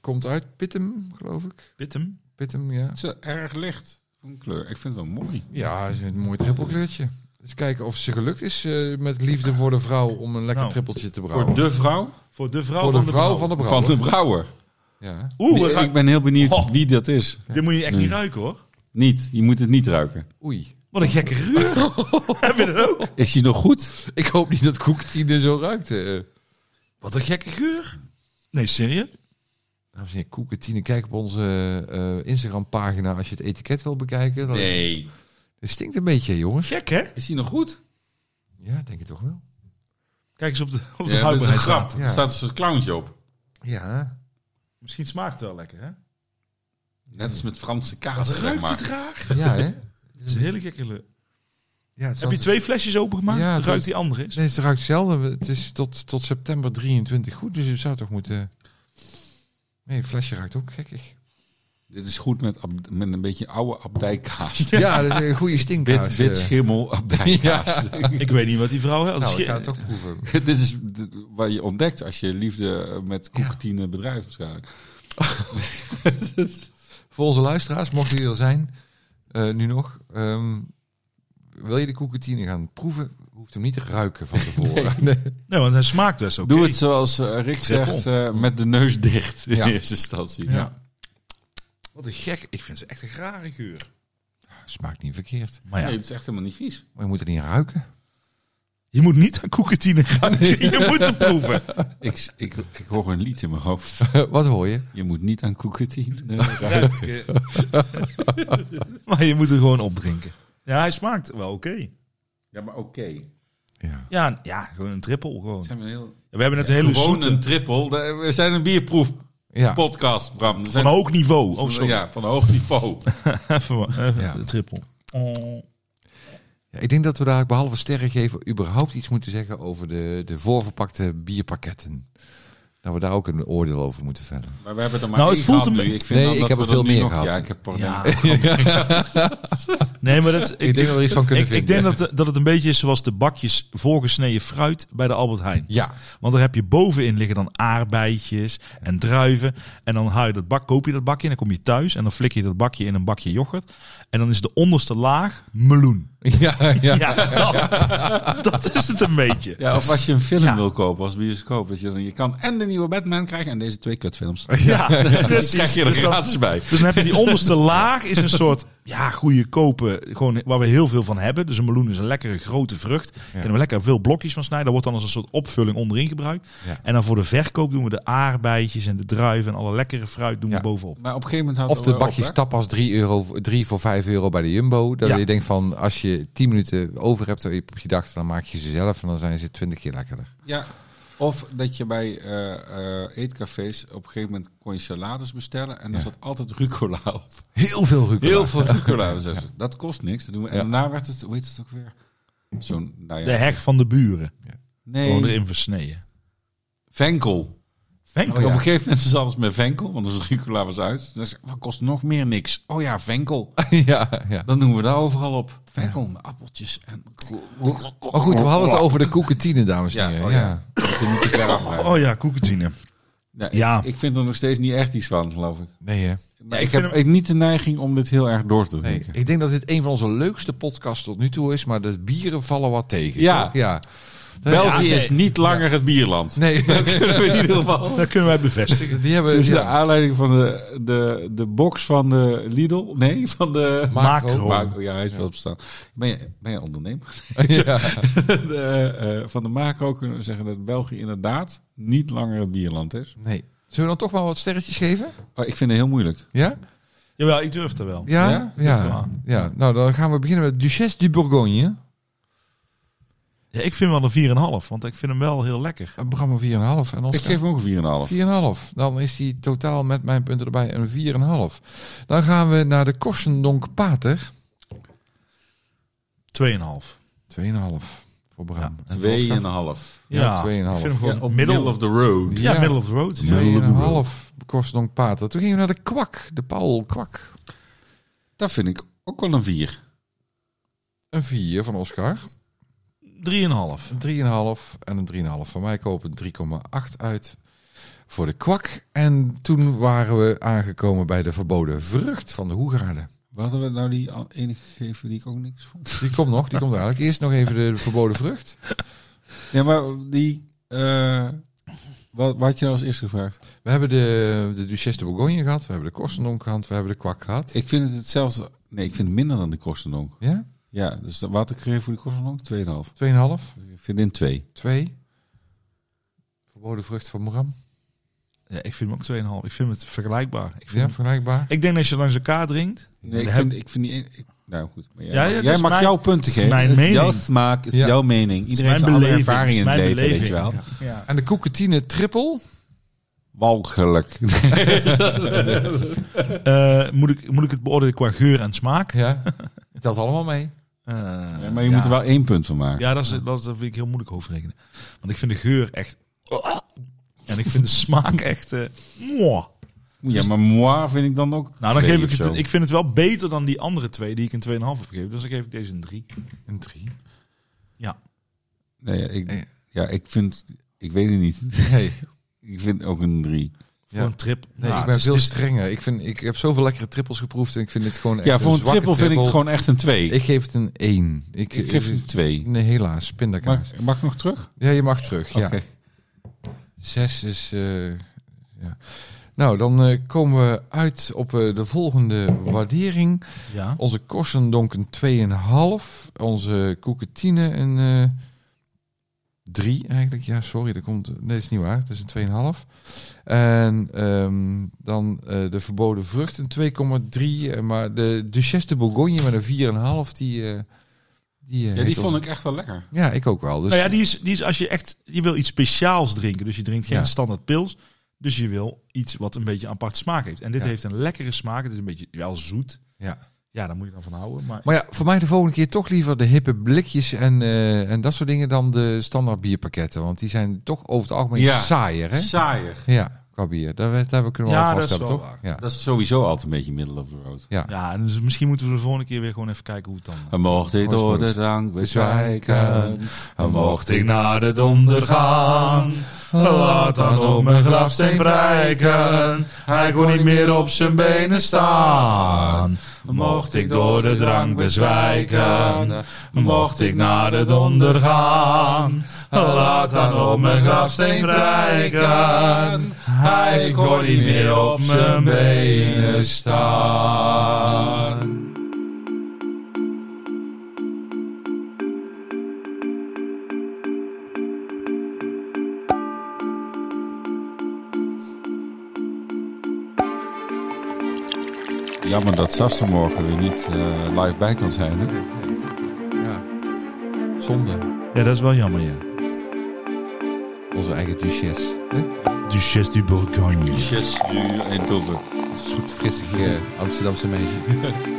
Speaker 2: Komt uit Pittem, geloof ik.
Speaker 1: Pittem.
Speaker 2: Pittem, ja.
Speaker 3: Het is wel erg licht van kleur. Ik vind het wel mooi.
Speaker 2: Ja, is een mooi trippelkleurtje. Eens kijken of ze gelukt is eh, met liefde voor de vrouw om een lekker
Speaker 1: Nou,
Speaker 2: trippeltje te brouwen.
Speaker 3: Voor de vrouw
Speaker 1: Voor de vrouw,
Speaker 2: Voor
Speaker 1: van,
Speaker 2: de vrouw
Speaker 1: de
Speaker 2: van de
Speaker 3: van
Speaker 2: brouwer.
Speaker 3: de brouwer.
Speaker 2: Ja.
Speaker 1: Oeh,
Speaker 3: Die-
Speaker 1: we gaan-
Speaker 3: ik ben heel benieuwd
Speaker 1: Oh.
Speaker 3: wie dat is.
Speaker 1: dit moet je echt niet ruiken hoor.
Speaker 3: Niet, je moet het niet ruiken.
Speaker 2: Oei.
Speaker 1: Wat een gekke geur. Heb je dat ook?
Speaker 3: Is die nog goed?
Speaker 2: Ik hoop niet dat koeketine zo ruikt. eh.
Speaker 1: Wat een gekke geur. Nee, serieus?
Speaker 2: Dames en heren, koeketine, kijk op onze eh, Instagram-pagina als je het etiket wil bekijken. Dan-
Speaker 3: Nee.
Speaker 2: Het stinkt een beetje, jongens.
Speaker 1: Gek hè?
Speaker 3: Is die nog goed?
Speaker 2: Ja, denk ik toch wel.
Speaker 1: Kijk eens op de, op de
Speaker 3: Ja, dat is een
Speaker 1: houdbaarheid.
Speaker 3: grap.
Speaker 2: Ja.
Speaker 3: Er staat dus een soort clowntje op.
Speaker 2: Ja.
Speaker 1: Misschien smaakt het wel lekker hè?
Speaker 3: Net als met Franse kaas,
Speaker 1: Wat
Speaker 3: zeg
Speaker 1: ruikt
Speaker 3: maar.
Speaker 1: het raar?
Speaker 2: Ja, hè?
Speaker 1: Het is een hele gekke geur.
Speaker 2: Ja, het
Speaker 1: Heb je twee flesjes opengemaakt?
Speaker 2: Ja,
Speaker 1: Ja,
Speaker 2: dat-
Speaker 1: ruikt die andere eens?
Speaker 2: Nee, het ruikt zelden. Het is tot, tot september 23 goed, dus het zou toch moeten... Nee, het flesje ruikt ook gekkig.
Speaker 3: Dit is goed met, ab- met een beetje oude abdijkaas.
Speaker 2: Ja, dat is een goede stinkkaas.
Speaker 3: Wit, wit
Speaker 2: eh.
Speaker 3: schimmel abdijkaas.
Speaker 1: Ik weet niet wat die vrouw had.
Speaker 2: Nou, ik ga het toch proeven.
Speaker 3: dit is d- wat je ontdekt als je liefde eh, met koeketine bedrijft waarschijnlijk.
Speaker 2: Voor onze luisteraars, mochten die er zijn, eh, nu nog... ehm, wil je de koeketine gaan proeven, hoeft hem niet te ruiken van tevoren.
Speaker 1: Nee, want hij smaakt best oké.
Speaker 3: Doe het zoals eh, Rick zegt, eh, met de neus dicht in
Speaker 2: Ja.
Speaker 3: eerste instantie.
Speaker 2: Ja.
Speaker 1: Wat een gek. Ik vind ze echt een rare geur.
Speaker 2: smaakt niet verkeerd.
Speaker 1: Maar ja,
Speaker 3: Nee, het is echt helemaal niet vies.
Speaker 2: Maar je moet er niet aan ruiken.
Speaker 1: je moet niet aan koekentine gaan. Je moet het proeven.
Speaker 3: Ik, ik, ik hoor een lied in mijn hoofd.
Speaker 2: Wat hoor je?
Speaker 3: Je moet niet aan koeketien.
Speaker 1: Maar je moet er gewoon opdrinken. Ja, hij smaakt wel oké.
Speaker 3: Ja, maar oké.
Speaker 2: Ja.
Speaker 1: Ja, ja, gewoon een trippel. Gewoon.
Speaker 3: Zijn we heel...
Speaker 1: We hebben net een hele
Speaker 3: Gewoon
Speaker 1: zoete,
Speaker 3: een triple. De- We zijn een bierproef
Speaker 2: Ja.
Speaker 3: podcast, Bram. We
Speaker 1: van
Speaker 3: zijn
Speaker 1: hoog niveau. Oh, sorry.
Speaker 3: ja, van een hoog niveau.
Speaker 1: Even, even
Speaker 2: Ja.
Speaker 1: de trippel. Oh.
Speaker 2: Ja, ik denk dat we daar behalve sterren geven überhaupt iets moeten zeggen over de, de voorverpakte bierpakketten. Dat we daar ook een oordeel over moeten vellen.
Speaker 3: Maar we hebben er maar
Speaker 1: Nou,
Speaker 3: één
Speaker 1: het voelt
Speaker 3: gehad
Speaker 1: een-
Speaker 3: nu. Ik vind
Speaker 2: Nee,
Speaker 3: dat
Speaker 2: ik
Speaker 3: dat
Speaker 2: heb
Speaker 3: we
Speaker 2: er veel
Speaker 3: dat nu
Speaker 2: meer
Speaker 3: nog-
Speaker 2: gehad.
Speaker 3: Ja, ik heb er-
Speaker 1: Ja, nee, maar dat,
Speaker 2: Ik denk dat we er iets van kunnen
Speaker 1: ik, ik
Speaker 2: vinden.
Speaker 1: denk dat, dat het een beetje is zoals de bakjes voorgesneden fruit bij de Albert Heijn.
Speaker 2: Ja,
Speaker 1: Want daar heb je bovenin liggen dan aardbeidjes en druiven. En dan haal je dat bak, koop je dat bakje en dan kom je thuis. En dan flik je dat bakje in een bakje yoghurt. En dan is de onderste laag meloen.
Speaker 2: ja, ja.
Speaker 1: Ja, dat, dat is het een beetje.
Speaker 3: Ja, of als je een film
Speaker 1: Ja.
Speaker 3: wil kopen als bioscoop. Dat je, dan, je kan en de nieuwe Batman krijgen en deze twee kutfilms.
Speaker 1: Ja,
Speaker 3: Dus
Speaker 1: precies.
Speaker 3: krijg je er
Speaker 1: Dus dan-
Speaker 3: gratis bij.
Speaker 1: Dus dan heb je die onderste laag is een soort ja, goede kopen, gewoon waar we heel veel van hebben. Dus een meloen is een lekkere grote vrucht. Daar kunnen we lekker veel blokjes van snijden. Dat wordt dan als een soort opvulling onderin gebruikt.
Speaker 2: Ja.
Speaker 1: En dan voor de verkoop doen we de aardbeidjes en de druiven en alle lekkere fruit doen
Speaker 2: Ja.
Speaker 1: we bovenop.
Speaker 3: Maar op een gegeven moment hadden
Speaker 2: Of de
Speaker 3: we wel op,
Speaker 2: bakjes
Speaker 3: hè?
Speaker 2: tapas 3 euro, drie voor 5 euro bij de Jumbo. Dat
Speaker 1: Ja.
Speaker 2: je denkt van, als je 10 minuten over hebt eh, op je dag, dan maak je ze zelf en dan zijn ze 20 keer lekkerder.
Speaker 3: Ja. Of dat je bij eh, eh, eetcafés op een gegeven moment kon je salades bestellen en dan
Speaker 2: Ja.
Speaker 3: zat altijd rucola op.
Speaker 2: Heel veel rucola.
Speaker 3: Heel veel rucola. Dan zeiden ze, Dat kost niks. Dat doen we. En
Speaker 2: Ja.
Speaker 3: daarna werd het, hoe heet het ook weer? Zo'n, nou
Speaker 1: De
Speaker 3: ja.
Speaker 1: heg van de buren. Gewoon
Speaker 3: Nee,
Speaker 1: erin versneden.
Speaker 3: venkel.
Speaker 1: Venkel.
Speaker 2: Oh ja.
Speaker 3: Op een gegeven moment was alles met venkel, want onze rucola was uit. Dan zei, wat kost nog meer niks? Oh ja, venkel.
Speaker 2: ja, ja.
Speaker 3: Dan doen we daar overal op. Venkel met appeltjes en...
Speaker 2: Maar goed, we hadden het over de koekentine, dames en
Speaker 3: Ja,
Speaker 2: heren.
Speaker 3: oh
Speaker 2: ja.
Speaker 3: ja. Dat is niet te ver afleiden.
Speaker 1: Oh ja, koekentine.
Speaker 3: Ja,
Speaker 1: Ja.
Speaker 3: Ik, ik vind er nog steeds niet echt iets van, geloof ik.
Speaker 2: Nee, hè?
Speaker 3: Maar
Speaker 1: ik
Speaker 3: ik, heb
Speaker 1: vind
Speaker 3: niet de neiging om dit heel erg door te denken.
Speaker 2: Ik denk dat dit een van onze leukste podcasts tot nu toe is, maar de bieren vallen wat tegen.
Speaker 3: Ja.
Speaker 2: toch? ja.
Speaker 3: België is niet langer het bierland.
Speaker 2: Nee,
Speaker 3: In ieder geval.
Speaker 1: Dat kunnen wij bevestigen.
Speaker 2: die hebben...
Speaker 3: Dus de
Speaker 2: ja.
Speaker 3: aanleiding van de, de, de box van de Lidl. Nee, van de.
Speaker 1: Macro.
Speaker 3: Macro, ja, hij is wel bestaan. Ben je, ben je ondernemer?
Speaker 2: Ja.
Speaker 3: De, eh, van de macro kunnen we zeggen dat België inderdaad niet langer het bierland is.
Speaker 2: Nee. Zullen we dan toch maar wat sterretjes geven?
Speaker 3: Oh, ik vind het heel moeilijk.
Speaker 2: Ja?
Speaker 1: Jawel, ik durf er wel.
Speaker 2: Ja?
Speaker 3: Ja?
Speaker 2: Ja.
Speaker 1: Dat is
Speaker 2: ja.
Speaker 1: waar.
Speaker 2: Nou, dan gaan we beginnen met Duchesse du Bourgogne.
Speaker 1: Ja, ik vind hem wel een 4,5, want ik vind hem wel heel lekker.
Speaker 2: Een Bram een 4,5. En
Speaker 3: Ik
Speaker 2: Oscar
Speaker 3: geef hem ook een 4,5.
Speaker 2: 4,5. Dan is hij totaal met mijn punten erbij een 4,5. Dan gaan we naar de Korsendonk Pater.
Speaker 1: 2,5.
Speaker 2: 2,5 voor Bram. En voor Oscar?
Speaker 3: 2,5.
Speaker 2: Ja, 2,5.
Speaker 1: Ik vind hem gewoon
Speaker 3: Ja, op middle
Speaker 1: middel.
Speaker 3: of the road.
Speaker 1: Ja,
Speaker 2: Ja.
Speaker 1: middle of the road. Ja.
Speaker 2: 2,5 Korsendonk Pater. Toen gingen we naar de Kwak. De Paul Kwak.
Speaker 3: Dat vind ik ook wel een 4.
Speaker 2: Een 4 van Oscar.
Speaker 1: 3,5.
Speaker 2: Een 3,5 en een 3,5 van mij. Ik hoop een 3,8 uit voor de kwak. En toen waren we aangekomen bij de verboden vrucht van de Hoegaarden.
Speaker 3: Hadden we nou die al- enige gegeven die ik ook niks vond?
Speaker 2: Die komt nog, die komt eigenlijk. Eerst nog even de verboden vrucht.
Speaker 3: Ja, maar die. eh, wat, wat had je nou als eerste gevraagd?
Speaker 2: We hebben de, de Duchesse de Bourgogne gehad, we hebben de Korstendonk gehad, we hebben de kwak gehad.
Speaker 3: Ik vind het hetzelfde. Nee, ik vind het minder dan de Korstendonk.
Speaker 2: Ja?
Speaker 3: Ja, dus de- wat had ik gegeven voor de Korstendonk? 2,5.
Speaker 2: 2,5,
Speaker 3: Ik vind in 2.
Speaker 2: 2. Verboden vrucht van Moram.
Speaker 1: Ja, ik vind hem ook 2,5. Ik vind het vergelijkbaar. Ik, vind
Speaker 2: Ja,
Speaker 1: hem-
Speaker 2: vergelijkbaar.
Speaker 1: ik denk dat als je langs elkaar drinkt.
Speaker 3: Nee, ik
Speaker 1: Heb-
Speaker 3: vind, ik vind die. een- ik- nou goed. Maar jij
Speaker 1: Ja, ja,
Speaker 3: mag-
Speaker 1: dat
Speaker 3: jij
Speaker 1: is
Speaker 3: mag
Speaker 1: mijn-
Speaker 3: jouw punten
Speaker 1: is
Speaker 3: geven.
Speaker 1: mijn
Speaker 3: Het is
Speaker 1: mening.
Speaker 3: Jouw smaak, het is
Speaker 2: Ja.
Speaker 3: jouw mening. Iedereen
Speaker 1: mijn
Speaker 3: heeft alle
Speaker 1: beleving,
Speaker 3: ervaring
Speaker 1: het
Speaker 3: in
Speaker 1: is
Speaker 3: het
Speaker 1: mijn
Speaker 3: leven, weet je
Speaker 1: beleving.
Speaker 3: wel.
Speaker 1: Ja.
Speaker 2: En de koeketine triple.
Speaker 3: Walgelijk.
Speaker 1: Eh, moet, ik, moet ik het beoordelen qua geur en smaak?
Speaker 2: Ja, telt allemaal mee.
Speaker 1: Eh,
Speaker 3: Ja, maar je moet er wel één punt van maken.
Speaker 1: Ja, dat, is, dat vind ik heel moeilijk overrekenen. Want ik vind de geur echt... En ik vind de smaak echt... eh, mwah.
Speaker 3: Ja, maar moi vind ik dan ook.
Speaker 1: Nou, dan
Speaker 3: twee
Speaker 1: geef ik
Speaker 3: of
Speaker 1: het...
Speaker 3: zo.
Speaker 1: Ik vind het wel beter dan die andere twee die ik een 2,5 heb gegeven. Dus dan geef ik deze een 3.
Speaker 2: Een 3.
Speaker 1: Ja.
Speaker 3: Nee, ik,
Speaker 2: Nee.
Speaker 3: ja, ik vind. Ik weet het niet.
Speaker 2: Nee,
Speaker 3: Ik vind ook een 3.
Speaker 1: Voor
Speaker 2: Ja.
Speaker 1: een trip.
Speaker 2: nee
Speaker 1: Nou,
Speaker 2: ik
Speaker 1: het
Speaker 2: ben
Speaker 1: is-
Speaker 2: veel
Speaker 1: het is-
Speaker 2: strenger. Ik, vind, ik heb zoveel lekkere trippels geproefd en ik vind dit gewoon echt
Speaker 3: Ja, voor een
Speaker 2: zwakke
Speaker 3: triple vind ik het gewoon echt een 2.
Speaker 2: Ik geef het een 1. Ik,
Speaker 3: Ik geef het een 2.
Speaker 2: Nee, helaas, pindakaas.
Speaker 3: Mag, mag ik nog terug?
Speaker 2: Ja, je mag terug. Ja.
Speaker 3: Oké.
Speaker 2: Zes is. eh, ja. Nou, dan eh, komen we uit op eh, de volgende waardering.
Speaker 1: Ja.
Speaker 2: Onze Korsendonk een 2,5. Onze Koeketine een eh 3 eigenlijk. Ja, sorry, dat komt. Nee, dat is niet waar. Het is een 2,5. En ehm, dan eh, de verboden vrucht een 2,3. eh, maar de Duchesse de Bourgogne met een 4,5. Die, eh, die, eh,
Speaker 3: Ja,
Speaker 2: heet
Speaker 3: die vond
Speaker 2: ons-
Speaker 3: ik echt wel lekker.
Speaker 2: Ja, ik ook wel. Dus
Speaker 1: Nou ja, die is, die is als je echt, je wil iets speciaals drinken. Dus je drinkt geen
Speaker 2: Ja.
Speaker 1: standaard pils. Dus je wil iets wat een beetje een apart smaak heeft. En dit
Speaker 2: Ja.
Speaker 1: heeft een lekkere smaak. Het is een beetje wel zoet.
Speaker 2: ja.
Speaker 1: Ja, daar moet je dan van houden. Maar,
Speaker 2: Maar ja, voor mij de volgende keer toch liever de hippe blikjes en, eh, en dat soort dingen dan de standaard bierpakketten. Want die zijn toch over het algemeen
Speaker 3: Ja.
Speaker 2: saaier, hè?
Speaker 3: Saaier.
Speaker 2: Ja, qua bier. Daar, we- daar kunnen we
Speaker 1: Ja,
Speaker 2: wel
Speaker 1: dat is
Speaker 2: vaststellen,
Speaker 1: wel
Speaker 2: toch?
Speaker 1: waar.
Speaker 2: Ja.
Speaker 3: Dat is sowieso altijd een beetje middle of the road.
Speaker 1: ja, dus misschien moeten we de volgende keer weer gewoon even kijken hoe het dan...
Speaker 3: En mocht ik
Speaker 2: Mooi
Speaker 3: door de
Speaker 2: smoes.
Speaker 3: drank bezwijken, en mocht ik
Speaker 1: naar de donder gaan,
Speaker 2: laat dan op mijn grafsteen
Speaker 1: prijken. Hij kon niet meer op zijn benen staan.
Speaker 3: Mocht ik door de drank bezwijken, mocht ik naar de
Speaker 1: donder gaan, laat
Speaker 2: dan op mijn grafsteen prijken.
Speaker 1: Hij
Speaker 2: kon niet meer op zijn benen
Speaker 1: staan.
Speaker 3: Jammer dat Sas er morgen weer niet eh, live bij kan zijn. Hè?
Speaker 2: Ja. Zonde.
Speaker 1: Ja, dat is wel jammer, ja.
Speaker 2: Onze eigen duchesse. Hè?
Speaker 1: Duchesse du Bourgogne.
Speaker 3: Yes, nu en tot
Speaker 2: Zoetfrissige Amsterdamse meisje.